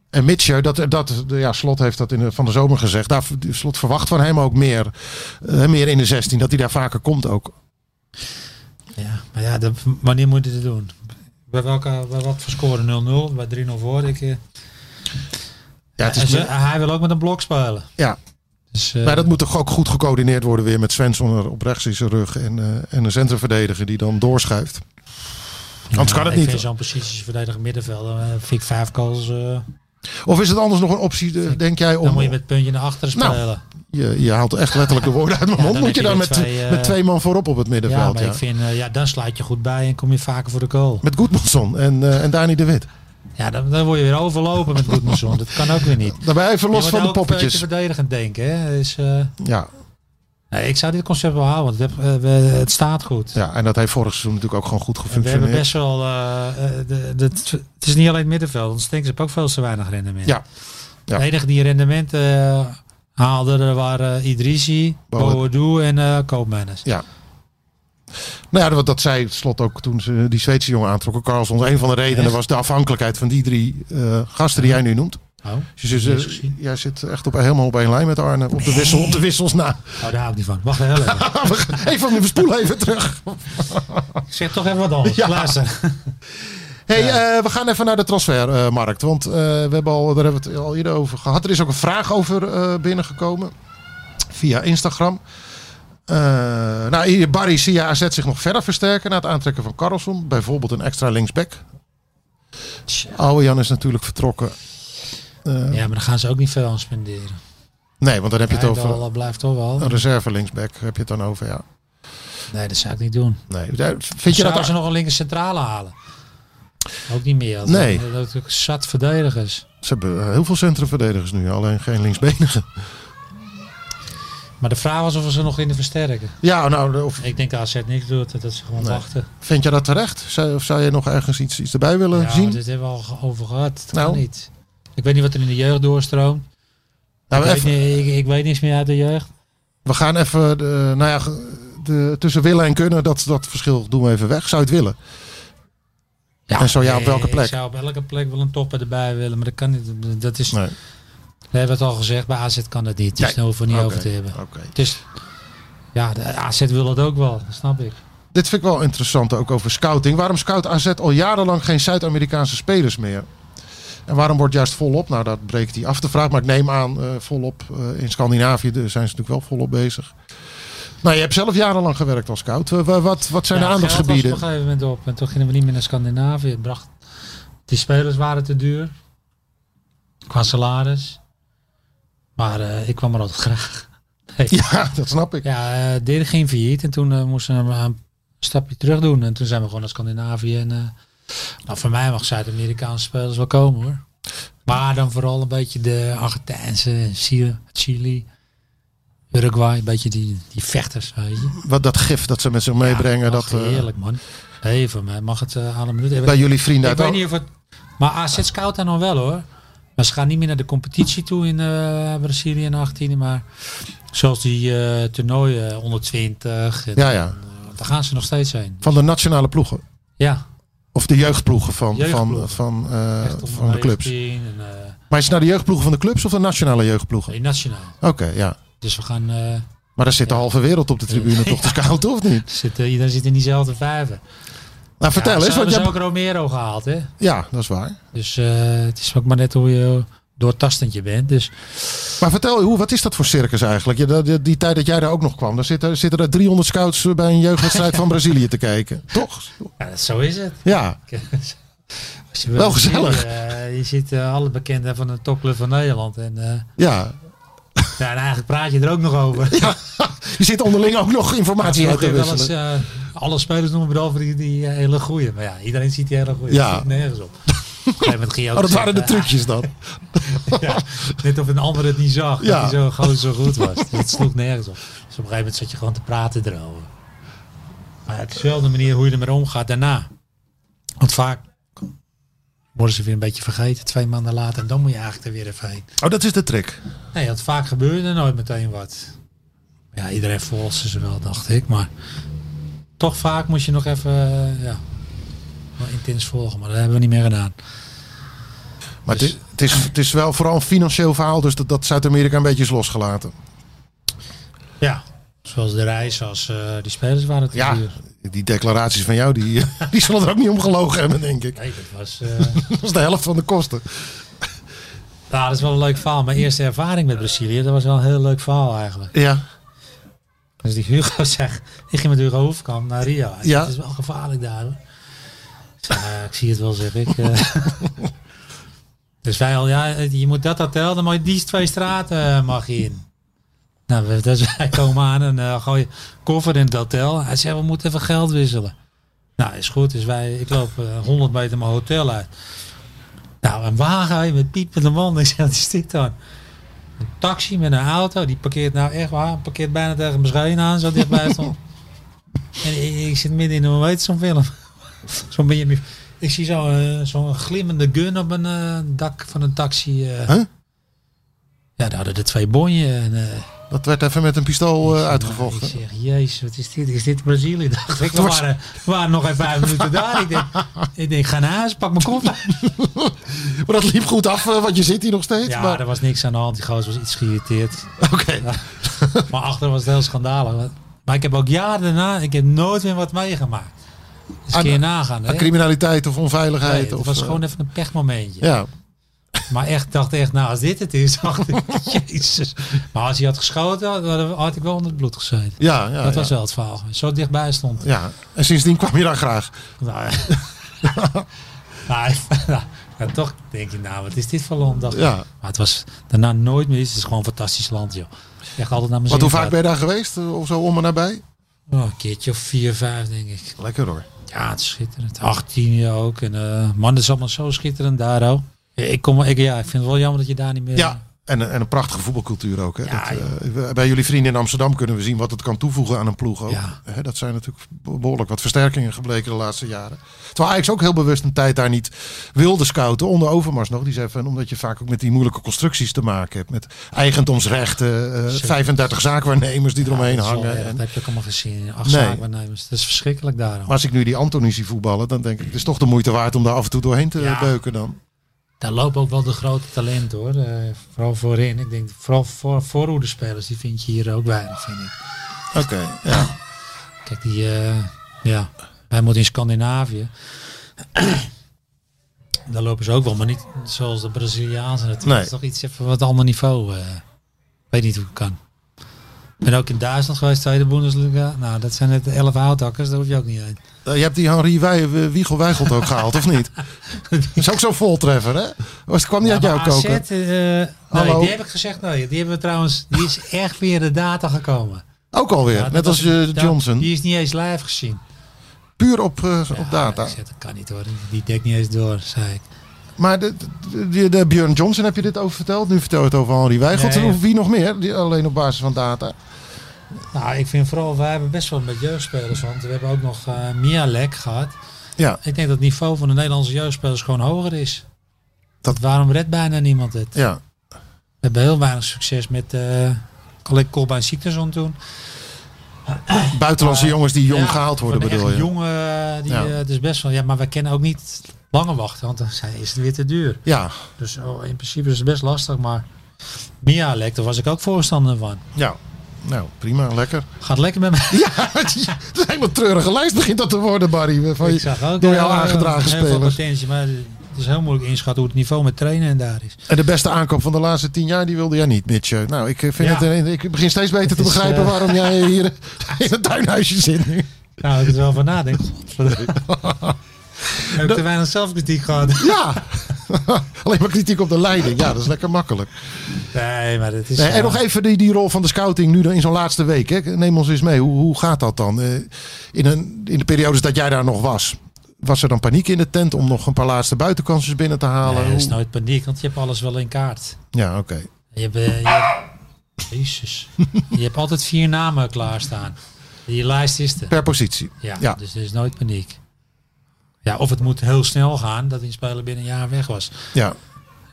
En Mitchell, dat, dat, ja, Slot heeft dat in de, van de zomer gezegd. Daar, Slot verwacht van hem ook meer, eh, meer in de 16. Dat hij daar vaker komt ook.
ja, maar ja, dat- wanneer moet je het doen? Bij, welke, bij wat voor score? 0-0? Bij 3-0 voor? Ik, eh,
Ja, het is
en ze-
meer-
Hij wil ook met een blok spelen.
Ja.
Dus, eh,
maar dat moet toch ook goed gecoördineerd worden weer met Svensson er op rechts in zijn rug. En, eh, en een centrumverdediger die dan doorschuift. Anders kan
ja,
het
Ik
niet.
vind zo'n posities verdedigen middenvelder. eh, vind ik vijf goals. eh,
Of is het anders nog een optie, eh, denk jij,
dan
om...
moet je met het puntje naar achteren
Nou,
spelen.
je, je haalt echt letterlijk de woorden uit mijn
Ja,
mond.
dan
Moet je
heb
dan
je
met,
de twee, eh,
met twee man voorop op het
ja,
middenveld?
maar
Ja,
ik vind, eh, ja, dan slaat je goed bij en kom je vaker voor de goal.
Met Goedmanson en, eh, en Dani de Wit.
Ja, dan, dan word je weer overlopen met Goodmanson. dat kan ook weer niet.
Daarbij even los
Je
van
moet
de
ook een beetje
poppetjes.
verdedigend denken. Hè? Dus, eh,
Ja,
nee, ik zou dit concept wel houden, want het, heb- eh, we- het staat goed.
ja, en dat heeft vorig seizoen natuurlijk ook gewoon goed
En we hebben
gefunctioneerd.
best wel... eh, eh, de, de- het is niet alleen het middenveld, want Stinks heeft ook veel te weinig rendement.
Ja. Ja.
De enige die rendement eh, haalde er waren Idrisi,
Bowen.
Boadu en eh Koopmanners.
Nou ja, want dat zei Slot ook toen ze die Zweedse jongen aantrokken. Carlson, een van de redenen
Echt?
was de afhankelijkheid van die drie eh, gasten die jij nu noemt.
Oh,
Dus je,
Niet eens
zit-
gezien.
jij zit echt op, helemaal op één lijn met Arne. Op de, wissel, op de wissels na.
oh, daar hou ik niet van. Wacht heel even.
Even, we spoelen even terug.
ik zeg toch even wat anders.
Ja.
Luister.
Hey, eh, we gaan even naar de transfermarkt. want eh, we hebben al, daar hebben we het al eerder over gehad. Er is ook een vraag over eh, binnengekomen. Via Instagram. Eh, nou, hier, Barry zie je AZ zich nog verder versterken na het aantrekken van Carlson. Bijvoorbeeld een extra linksback. Oude Jan is natuurlijk vertrokken.
Ja, maar daar gaan ze ook niet veel aan spenderen.
Nee, want dan heb je het over
Rijndal blijft toch wel.
een reserve linksback. Heb je het dan over, ja.
Nee, dat zou ik niet doen.
Nee, daar- vind je dat...
Zouden ze
daar-
nog een linker centrale halen? Ook niet meer.
Nee.
Dat- Dat dat- zat verdedigers.
Ze hebben eh, heel veel centrumverdedigers nu. Alleen geen linksbenigen.
Maar de vraag was of we ze nog in de versterken.
Ja, nou, of
Ik denk dat AZ niks doet. Dat ze gewoon
Nee.
wachten.
Vind je dat terecht? Zou, of zou je nog ergens iets, iets erbij willen
Ja,
zien?
dit hebben we al ge- over gehad. Dat
eh, Nou.
kan niet. Ik weet niet wat er in de jeugd doorstroomt.
nou,
ik,
even,
weet niet, ik, ik weet niks meer uit de jeugd.
We gaan even, de, nou ja, ge- de, tussen willen en kunnen, dat, dat verschil doen we even weg. Zou je het willen? en zo ja, op
Nee,
welke plek?
Ik zou op elke plek wel een topper erbij willen. Maar dat kan niet. Dat is,
Nee.
We hebben het al gezegd. Bij AZ kan dat niet. Dus
Nee.
daar hoeven we niet
Oké.
over te hebben.
Oké.
Dus ja, de AZ wil het ook wel, dat snap ik.
Dit vind ik wel interessant, ook over scouting. Waarom scout AZ al jarenlang geen Zuid-Amerikaanse spelers meer? En waarom wordt juist volop, nou dat breekt hij af de vraag, maar ik neem aan eh, volop. eh, in Scandinavië eh, zijn ze natuurlijk wel volop bezig. Nou, je hebt zelf jarenlang gewerkt als scout. Eh, wa- wat, wat zijn
Ja,
de
het geld was
aandachtsgebieden?
op een gegeven moment op en toen gingen we niet meer naar Scandinavië. Het bracht, die spelers waren te duur qua salaris. Maar eh, ik kwam er altijd graag. Nee. Ja,
Ja, dat snap ik.
eh Dirk ging failliet en toen eh, moesten we een stapje terug doen. En toen zijn we gewoon naar Scandinavië. En, eh, nou, voor mij mag Zuid-Amerikaanse spelers wel komen hoor. Maar dan vooral een beetje de Argentijnse, Chili- Chili, Uruguay. Een beetje die, die vechters, weet je.
Wat dat gif dat ze met zich
Ja,
meebrengen.
ach,
dat, eh,
heerlijk man. Hey, van mij mag het eh, aan een minuut. Ik,
bij jullie vrienden uit
ik weet
Al-
niet of het. Maar AZ scout dan nog wel hoor. Maar ze gaan niet meer naar de competitie toe in eh, Brazilië en 18. Maar zoals die eh, toernooien onder 20. en-
Ja, ja.
Daar gaan ze nog steeds heen.
Van de nationale ploegen.
Ja.
Of de jeugdploegen van,
Jeugdploegen.
van, van, eh,
echt onder
van de clubs.
19 En, eh,
Maar is het nou de jeugdploegen van de clubs of de nationale jeugdploegen?
nee, nationaal.
Oké, ja.
Dus we gaan. eh,
Maar daar zit de halve wereld op de tribune toch te scouten, of niet?
zitten, iedereen zit in diezelfde vijver.
Nou, vertel
ja,
eens. Want
ze
je
hebben
hebt...
ook Romero gehaald, hè?
Ja, dat is waar.
Dus eh, het is ook maar net hoe je doortastend je bent. Dus
Maar vertel, hoe, wat is dat voor circus eigenlijk? Je, dat- die, die tijd dat jij daar ook nog kwam, dan zitten, zitten er 300 scouts bij een jeugdwedstrijd van Brazilië te kijken. Toch?
ja, zo is het.
Ja.
Als je wil
Wel
zien,
gezellig.
eh, je ziet eh, alle bekenden van de topclub van Nederland. En, eh,
ja.
ja, en eigenlijk praat je er ook nog over.
ja. Je zit onderling ook nog informatie uit
Ook
te
wel eens,
wisselen.
eh, alle spelers noemen behalve die, die eh, hele goeie. Maar ja, iedereen ziet die hele goeie.
Ja.
Dat ziet nergens op. Op een gegeven moment ging je ook
Oh, dat waren
zeggen,
de trucjes dan.
Ja, net of een ander het niet zag.
Ja.
Dat hij zo gewoon zo goed was. Dat sloeg nergens op. Dus op een gegeven moment zat je gewoon te praten erover. Maar het is wel de manier hoe je ermee omgaat daarna. Want vaak worden ze weer een beetje vergeten. Twee maanden later. En dan moet je eigenlijk er weer even heen.
Oh, dat is de trick.
Nee, want vaak gebeurde er nooit meteen wat. Ja, iedereen volste ze wel, dacht ik. Maar toch vaak moest je nog even eh, ja, wel intens volgen. Maar dat hebben we niet meer gedaan.
Maar
Dus-
het, is, het, is, het is wel vooral een financieel verhaal, dus dat, dat Zuid-Amerika een beetje is losgelaten.
Ja, zoals de reis, als eh, die spelers waren het
Ja, die declaraties van jou, die, die zullen er ook niet om gelogen hebben, denk ik.
Nee, dat was. eh,
Dat is de helft van de kosten.
nou, dat is wel een leuk verhaal. Mijn eerste ervaring met Brazilië, dat was wel een heel leuk verhaal eigenlijk.
Ja,
Dus die Hugo zegt, ik ging met Hugo Hoefkamp naar Rio. Hij zegt,
Ja.
Het is wel gevaarlijk daar. hoor." Ik zeg, "Ja, ik zie het wel, zeg ik. Eh, dus wij al, ja, je moet dat hotel, dan mag je die twee straten eh, mag je in. Nou, we- dus wij komen aan en eh gooi koffer in het hotel. Hij zegt, we moeten even geld wisselen. Nou, is goed. Dus wij, ik loop eh, 100 meter mijn hotel uit. Nou, een wagen met piepende man. Ik zeg, wat is dit dan? Een taxi met een auto. Die parkeert nou echt waar. Parkeert bijna tegen mijn schijn aan. Zo dichtbij stond. en ik, ik zit midden in een, weet zo'n film. zo'n Miami. Ik zie zo, eh, zo'n glimmende gun op een eh, dak van een taxi. eh.
Huh?
Ja, daar hadden de twee bonjen. En, eh, nou,
dat werd even met een pistool eh, uitgevochten.
ik zeg, jezus, wat is dit? Is dit Brazilië? Dacht ik, we
was-
waren, we waren nog even vijf minuten daar. Ik denk, ik denk, ga naar huis, pak mijn koffer.
Maar dat liep goed af, eh, want je zit hier nog steeds.
Ja,
maar-
er was niks aan de hand. Die gozer was iets geïrriteerd.
Oké.
Maar achter was het heel schandalig. Maar ik heb ook jaren daarna, ik heb nooit meer wat meegemaakt. Dus
Aan-
kun je nagaan.
Aan
Hè?
criminaliteit of onveiligheid.
Nee, het
of,
was
eh,
gewoon even een pechmomentje.
Ja,
Maar echt, dacht echt, nou als dit het is, dacht ik, jezus. Maar als hij had geschoten, had, had ik wel onder het bloed gezeten.
ja, ja.
dat
ja.
was wel het verhaal. Zo dichtbij stond het.
Ja, en sindsdien kwam je daar graag.
Nou, ja. nou, ja, nou, toch denk je, nou, wat is dit voor land? dacht ik.
Ja.
Maar het was daarna nooit meer. iets. Het is gewoon een fantastisch land, joh. Echt altijd naar mijn
Want
zin
hoe vaak ben
gehad.
je daar geweest? eh, Of zo om en nabij?
Oh, een keertje of vier, vijf, denk ik.
Lekker hoor.
Ja, het is schitterend. 18 jaar ook. En eh, man, dat is allemaal zo schitterend daar, oh. Ik, kom, ik, ja, ik vind het wel jammer dat je daar niet meer... eh,
Ja. En, en een prachtige voetbalcultuur ook. Hè?
Ja,
dat, eh, we- bij jullie vrienden in Amsterdam kunnen we zien wat het kan toevoegen aan een ploeg. Ook.
Ja.
Hè, dat zijn natuurlijk behoorlijk wat versterkingen gebleken de laatste jaren. Terwijl Ajax ook heel bewust een tijd daar niet wilde scouten. Onder Overmars nog. Die zei van, omdat je vaak ook met die moeilijke constructies te maken hebt. Met eigendomsrechten, eh, 35 zaakwaarnemers die eromheen
dat is wel
hangen.
erg.
En-
Dat heb je ook allemaal gezien. Acht
Nee.
zaakwaarnemers. Dat is verschrikkelijk daar, hoor.
Maar als ik nu die Antoni zie voetballen, dan denk ik, het is toch de moeite waard om daar af en toe doorheen te
Ja.
beuken dan.
Daar lopen ook wel de grote talenten hoor. Eh, vooral voorin. Ik denk vooral voor, voorhoedenspelers, die vind je hier ook weinig, vind ik.
Oké, ja.
Kijk, die, eh, ja, wij moeten in Scandinavië. Daar lopen ze ook wel, maar niet zoals de Braziliaanse. Het
Nee.
is toch iets even wat ander niveau. eh. weet niet hoe het kan. Ik ben ook in Duitsland geweest, tweede Bundesliga. Nou, dat zijn net elf houthakkers, daar hoef je ook niet heen.
Eh, je hebt die Henri Wij- Wiegel Weigelt ook gehaald, of niet? Dat is ook zo'n voltreffer, hè? Was, kwam die uit
Ja,
jouw
maar AZ,
koken?
eh, nee,
Hallo.
die heb ik gezegd. Nee, die hebben we trouwens. Die is echt weer de data gekomen.
Ook alweer,
Ja, dat
net als
was-
eh,
dat-
Johnson.
Die is niet eens live gezien.
Puur op, eh, op data.
Ik zeg, dat kan niet hoor. Die- Die dekt niet eens door, zei ik.
Maar de, de, de- de Björn Johnson heb je dit over verteld. Nu vertel je het over Henri Weigelt.
Nee.
Of Wie nog meer? Die, alleen op basis van data.
Nou, ik vind vooral, wij hebben best wel met jeugdspelers. Want we hebben ook nog eh Mialek gehad.
Ja,
Ik denk dat het niveau van de Nederlandse jeugdspelers gewoon hoger is.
Dat-
Dat... Waarom redt bijna niemand het?
ja.
We hebben heel weinig succes met eh Colin Kolbein Ziekteson toen.
Buitenlandse jongens die jong
Ja,
gehaald worden,
van
bedoel
echt
je?
jonge, eh, die,
Ja.
eh, het is best wel... Ja, maar wij kennen ook niet langer wachten. Want dan zijn- is het weer te duur.
Ja,
Dus oh, in principe is het best lastig. Maar Mialek, daar was ik ook voorstander van.
ja. Nou, prima, lekker.
Gaat lekker met mij.
Ja, het is, het is een hele treurige lijst begint dat te worden, Barry. Van je, door jou
eh,
aangedragen
heel veel
spelers.
potentie, maar het is heel moeilijk inschatten hoe het niveau met trainen en daar is.
En de beste aankoop van de laatste tien jaar, die wilde jij niet, Mitch. Nou, ik, eh, vind
Ja.
het, eh, ik begin steeds beter
Het
te
is,
begrijpen
eh,
waarom jij hier in het tuinhuisje zit nu.
Nou, ik er wel van nadenken. Godverdomme. Heb ik te weinig zelfkritiek gehad?
Ja, alleen maar kritiek op de leiding. Ja, dat is lekker makkelijk.
Nee, maar dat is...
Nee,
eh,
en nog even die, die rol van de scouting nu dan in zo'n laatste week. Hè? Neem ons eens mee. Hoe, hoe gaat dat dan? Eh, in, een, in de periodes dat jij daar nog was. Was er dan paniek in de tent om nog een paar laatste buitenkansjes binnen te halen?
nee, er is
Hoe-
nooit paniek, want je hebt alles wel in kaart.
Ja, oké.
Je hebt, eh, je hebt- Jezus. Je hebt altijd vier namen klaarstaan. Die lijst is er.
Per positie.
Ja,
Ja.
dus er is nooit paniek. Ja, of het moet heel snel gaan dat een speler binnen een jaar weg was.
Ja,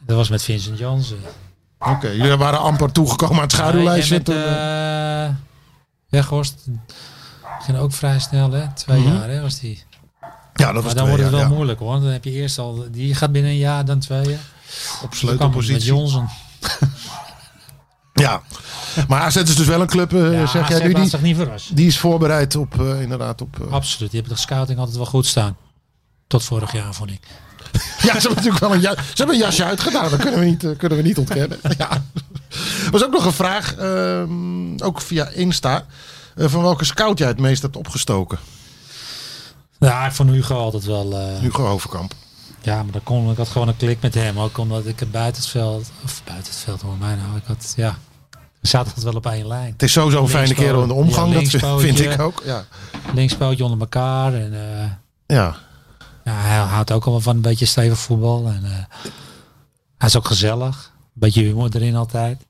Dat was met Vincent Jansen.
oké. Jullie waren amper toegekomen aan het schaduwlijstje.
En met,
toen, eh,
eh, Weghorst ging ook vrij snel, hè? Twee jaar, hè, was die.
ja, Mhm. dat was
Maar dan
twee
wordt het wel
jaar, ja.
moeilijk, hoor. Dan heb je eerst al... Die gaat binnen een jaar, dan twee
Op
jaar. Dan kwam het met
sleutelpositie.
Johnson.
Ja. Maar AZ is dus wel een club, eh, zeg jij nu,
niet?
die,
zich niet verrast.
die is voorbereid op, eh, inderdaad, op... eh,
Absoluut. Die hebben de scouting altijd wel goed staan. Tot vorig jaar, vond ik.
Ja, ze hebben natuurlijk wel een, ja, ze hebben een jasje uitgedaan. Dat kunnen we niet, eh, kunnen we niet ontkennen. Ja. Er was ook nog een vraag, ehm, ook via Insta. eh, van welke scout jij het meest hebt opgestoken?
Nou, ik vond Hugo altijd wel... eh,
Hugo Overkamp.
Ja, maar dan kon ik had gewoon een klik met hem. Ook omdat ik het buiten het veld, of buiten het veld hoor mij nou, ik had, ja, we zaten altijd wel op één lijn.
Het is sowieso een fijne kerel in de omgang.
Ja,
dat vind- vind
linkspootje.
ik ook. Ja.
Linkspootje onder elkaar en eh,
ja.
ja, hij houdt ook al wel van een beetje stevig voetbal. En, eh, hij is ook gezellig, een beetje humor erin altijd.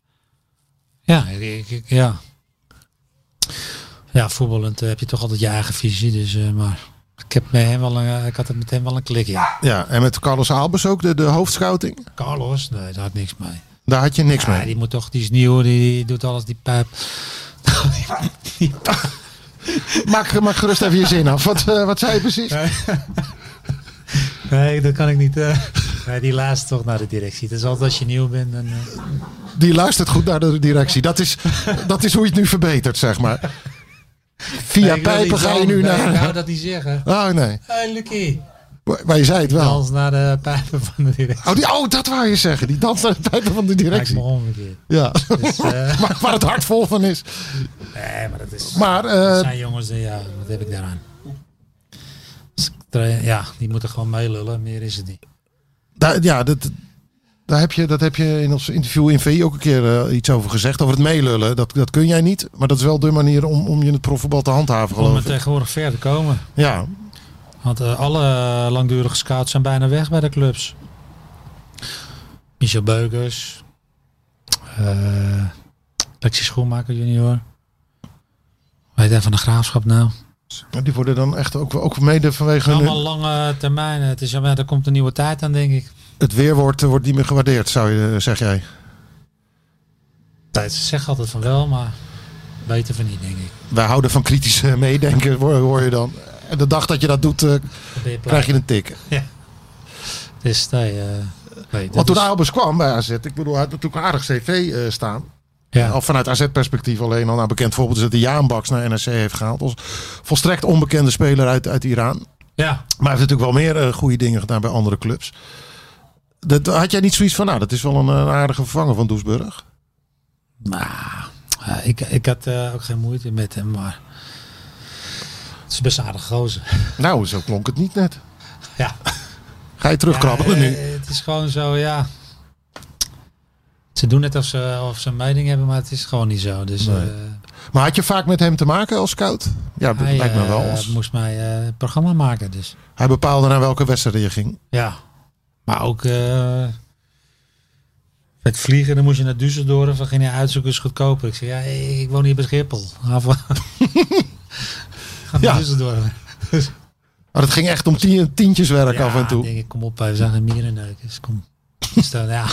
Ja, ik, ik- ja. Ja, voetballend eh, heb je toch altijd je eigen visie, dus eh, maar ik heb met hem wel een, eh, ik had het met hem wel een klik ja.
ja. En met Carlos Albers ook, de, de hoofdscouting.
Carlos, nee, daar had niks mee.
Daar had je niks
Ja,
mee.
die moet toch, die is nieuw, die, die doet alles, die pijp.
Maak, maak gerust even je zin af. Wat, eh, wat zei je precies?
Nee, dat kan ik niet. eh. Nee, die laatst toch naar de directie. Dus altijd als je nieuw bent, dan... eh,
Die luistert goed naar de directie. Dat is, dat is hoe je het nu verbetert, zeg maar.
Nee,
Via
ik wil
pijpen
niet
ga je
doen.
nu
Nee, Ik
naar...
wou dat niet zeggen.
Oh nee,
Hey, Lucky.
maar maar je zei het wel.
Dans naar de pijpen van de directie.
Oh, die, oh, dat wou je zeggen. Die danst naar de pijpen van de
Lijkt me
directie.
omgekeerd.
Ja,
Dus, eh,
waar, waar het hart vol van is.
nee, maar dat is...
Maar
Dat
eh,
zijn jongens, die, ja, wat heb ik daaraan? Dus ik tra- Ja, die moeten gewoon meelullen. Meer is het niet.
daar, ja, dat, daar heb je, dat heb je in ons interview in VI ook een keer eh, iets over gezegd. Over het meelullen. Dat, dat kun jij niet. Maar dat is wel de manier om, om je in het profvoetbal te handhaven,
Om er
geloof ik.
tegenwoordig ver te komen.
Ja,
Want eh, alle eh, langdurige scouts zijn bijna weg bij de clubs. Michel Beukers. eh Lexi Schoenmaker junior. Hoe heet hij van de Graafschap nou?
maar die worden dan echt ook, ook mede vanwege hun-
Allemaal lange termijn. Het is, ja, maar er komt een nieuwe tijd aan, denk ik.
het weerwoord eh, wordt niet meer gewaardeerd, zou je, eh, zeg jij.
Tijd. Ze zeggen altijd van wel, maar beter van niet, denk ik.
Wij houden van kritisch eh, meedenken, hoor, hoor je dan. En de dag dat je dat doet, eh,
Dan ben je
krijg je
blij.
een tik.
Dus, nee, eh, nee,
Want
dat
Oh, toen nou-
is-
Albers kwam bij AZ, ik bedoel, hij had natuurlijk een aardig cv eh, staan.
ja.
Al vanuit AZ-perspectief alleen al nou bekend voorbeeld is dat de Jaan Baks naar NRC heeft gehaald. Als volstrekt onbekende speler uit, uit Iran.
ja,
Maar hij heeft natuurlijk wel meer eh, goede dingen gedaan bij andere clubs. Dat, had jij niet zoiets van, nou dat is wel een, eh, aardige vervanger van Doesburg?
Nou, eh, ik, ik had eh, ook geen moeite met hem, maar het is best een aardige gozer.
Nou, zo klonk het niet net.
Ja.
Ga je terugkrabbelen
Ja, eh,
nu?
Het is gewoon zo, ja. Ze doen net of ze, of ze een mening hebben, maar het is gewoon niet zo. Dus eh,
Maar had je vaak met hem te maken als scout? Ja, dat
hij
lijkt me wel.
eh,
Als-
moest mij eh, het programma maken, dus
Hij bepaalde naar welke wedstrijd je ging.
ja. Maar ook eh, met vliegen, dan moest je naar Düsseldorf, dan ging hij uitzoeken, is goedkoper. Ik zei, ja, ik, ik woon hier bij Schiphol. Ga van- Ga naar
Ja.
Düsseldorf.
Maar het ging echt om tien, tientjes werk af en toe.
denk ik, kom op, we zijn geen mierenneukers. Kom. Dus dan, ja,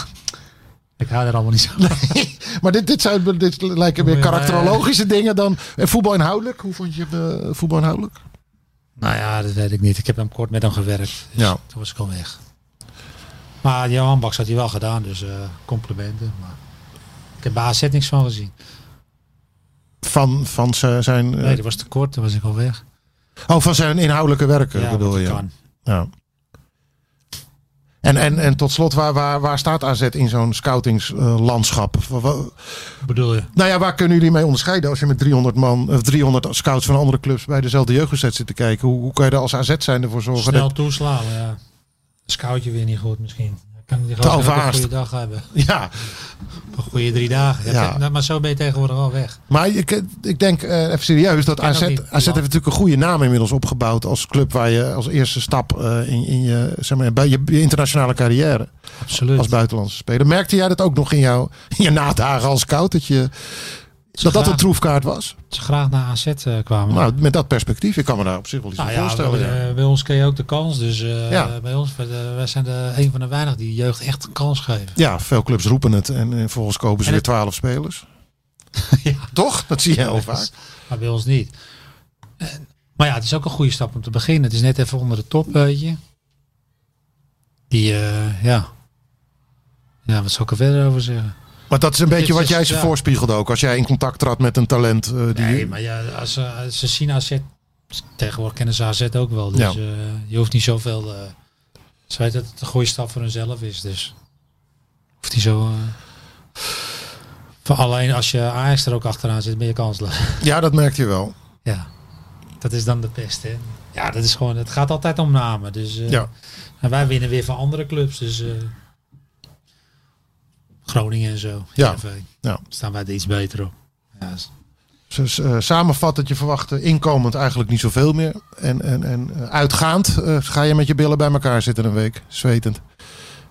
ik hou er allemaal niet zo van.
Maar dit, dit, zijn, dit lijken meer
Ja,
karakterologische dingen dan. En voetbal inhoudelijk? Hoe vond je eh, voetbal inhoudelijk?
Nou ja, dat weet ik niet. Ik heb hem kort met hem gewerkt. Dus
Ja.
Toen was ik al weg. Maar Johan Baks had hij wel gedaan, dus eh, complimenten. Maar ik heb bij AZ niks van gezien.
van, van ze- zijn, eh,
Nee, dat was te kort. Toen was ik al weg.
oh, van zijn inhoudelijke werken bedoel
wat
je?
kan.
Ja. En, en, en tot slot, waar, waar, waar staat AZ in zo'n scoutingslandschap? Wa- wa-
Bedoel je?
Nou ja, waar kunnen jullie mee onderscheiden als je met 300 man of 300 scouts van andere clubs bij dezelfde jeugdwedstrijd zit te kijken? Hoe, hoe kan je er als AZ zijn ervoor zorgen
Snel
dat
toeslaan, ja. Scout je weer niet goed misschien. Dan Kan die
Te
gewoon een
overhaast.
goede dag hebben.
ja,
Een goede drie dagen. Ja,
Ja.
kijk, nou, maar zo ben je tegenwoordig al weg.
maar ik, ik denk eh, even serieus dat
ken
AZ,
dat niet.
AZ heeft natuurlijk een goede naam inmiddels opgebouwd als club waar je als eerste stap eh, in, in je, zeg maar, bij je, je internationale carrière
Absoluut.
als buitenlandse speler. Merkte jij dat ook nog in, jouw, in je nadagen als scout dat je, dat, dat een
graag.
troefkaart was?
Ze graag naar AZ eh, kwamen.
Nou, met dat perspectief, ik kan me daar op zich wel iets
Nou
bij
ja,
voorstellen. ja.
bij, eh, bij ons kreeg je ook de kans. Dus eh,
Ja.
bij ons, wij, eh, wij zijn de, een van de weinigen die jeugd echt een kans geven.
Ja, veel clubs roepen het en, eh, vervolgens kopen ze
En
weer
het-
twaalf spelers.
Ja.
Toch? Dat zie je heel vaak.
Maar bij ons niet. Eh, maar ja, het is ook een goede stap om te beginnen. Het is net even onder de top, weet je. Die, eh, ja. Ja, wat zou ik er verder over zeggen?
Maar dat is een beetje
Dit
wat
is-
jij ze
ja.
voorspiegelde ook. Als jij in contact trad met een talent. eh, die,
Nee, maar ja, als, ze- als ze zien AZ, tegenwoordig kennen ze AZ ook wel. Dus
Ja.
eh, je hoeft niet zoveel... eh ze weten dat het een goede stap voor hunzelf is, dus... Hoeft niet zo... eh, voor- alleen als je Ajax er ook achteraan zit, ben je kansloos.
Ja, dat merkte je wel.
ja, dat is dan de pest, hè. Ja, dat is gewoon... Het gaat altijd om namen, dus... eh,
Ja.
En wij winnen weer van andere clubs, dus... eh, Groningen en zo.
Ja.
GNV.
Ja.
Staan wij er iets beter op. Ja, is-
Dus eh, samenvat dat je verwacht eh, inkomend eigenlijk niet zoveel meer. En, en, en eh, uitgaand eh, ga je met je billen bij elkaar zitten een week. Zwetend.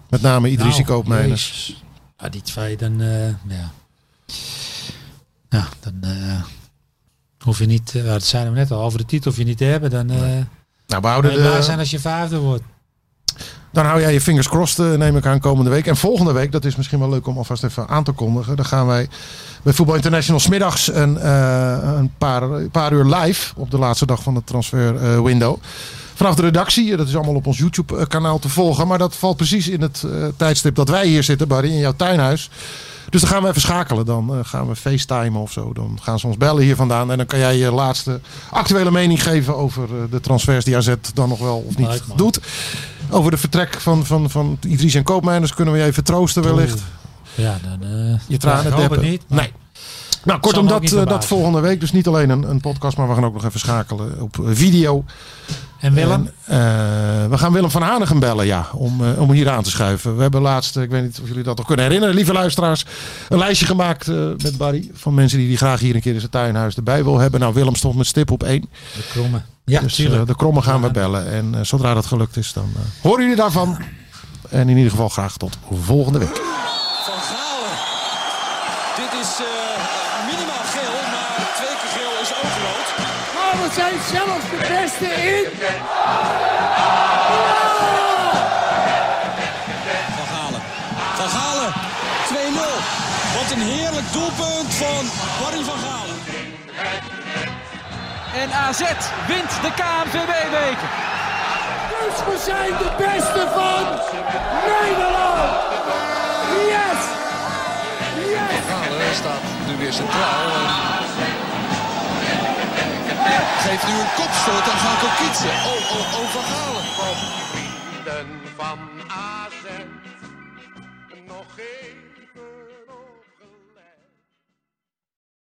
Met name Idrissi
Nou,
Koopmeiners.
jezus. Ja, die twee, dan... eh, ja. ja, dan eh, hoef je niet... eh, dat zeiden we net al, over de titel hoef je niet te hebben. Dan eh
Nou, we houden
ben je blij zijn
de,
als je vijfde wordt.
dan hou jij je fingers crossed, eh, neem ik aan, komende week. En volgende week, dat is misschien wel leuk om alvast even aan te kondigen. Dan gaan wij bij Voetbal International 's middags een, eh, een paar, een paar uur live op de laatste dag van de transfer eh, window. Vanaf de redactie, eh, dat is allemaal op ons YouTube-kanaal te volgen. Maar dat valt precies in het eh, tijdstip dat wij hier zitten, Barry, in jouw tuinhuis. Dus dan gaan we even schakelen. Dan eh, gaan we facetimen of zo. Dan gaan ze ons bellen hier vandaan. En dan kan jij je laatste actuele mening geven over eh, de transfers die AZ dan nog wel of niet
Leuk, man.
doet. Over de vertrek van, van, van Idries en Koopmeiners kunnen we je even troosten wellicht
Ja, dan... eh,
je
ja,
tranen
ik hoop het
deppen.
niet. maar
Nee. Nou, kortom,
me ook
dat,
niet
eh, dat
verbazen.
volgende week. Dus niet alleen een, een podcast, maar we gaan ook nog even schakelen op eh, video.
En Willem?
En, eh, we gaan Willem van Hanegem bellen, ja. Om, eh, om hier aan te schuiven. We hebben laatst, eh, ik weet niet of jullie dat nog kunnen herinneren, lieve luisteraars. Een lijstje gemaakt eh, met Barry. Van mensen die die graag hier een keer in zijn tuinhuis erbij wil hebben. Nou, Willem stond met stip op één.
de kromme. Ja,
dus eh,
tuurlijk.
de krommen gaan we bellen. En eh, zodra dat gelukt is, dan eh, horen jullie daarvan. En in ieder geval graag tot volgende week.
Van Galen. Dit is eh, minimaal geel, maar twee keer geel is ook rood.
Maar Oh, we zijn zelfs de beste in.
Van Galen. Van Galen. 2-0. Wat een heerlijk doelpunt van Barry van Galen.
En AZ wint de KNVB-beker.
Dus we zijn de beste van Nederland. Yes. Yes.
Galen staat nu weer centraal. en Geeft nu een kopstoot aan Gaan Kokitsen. Oh, oh, oh, Van Galen.
vrienden van AZ nog even.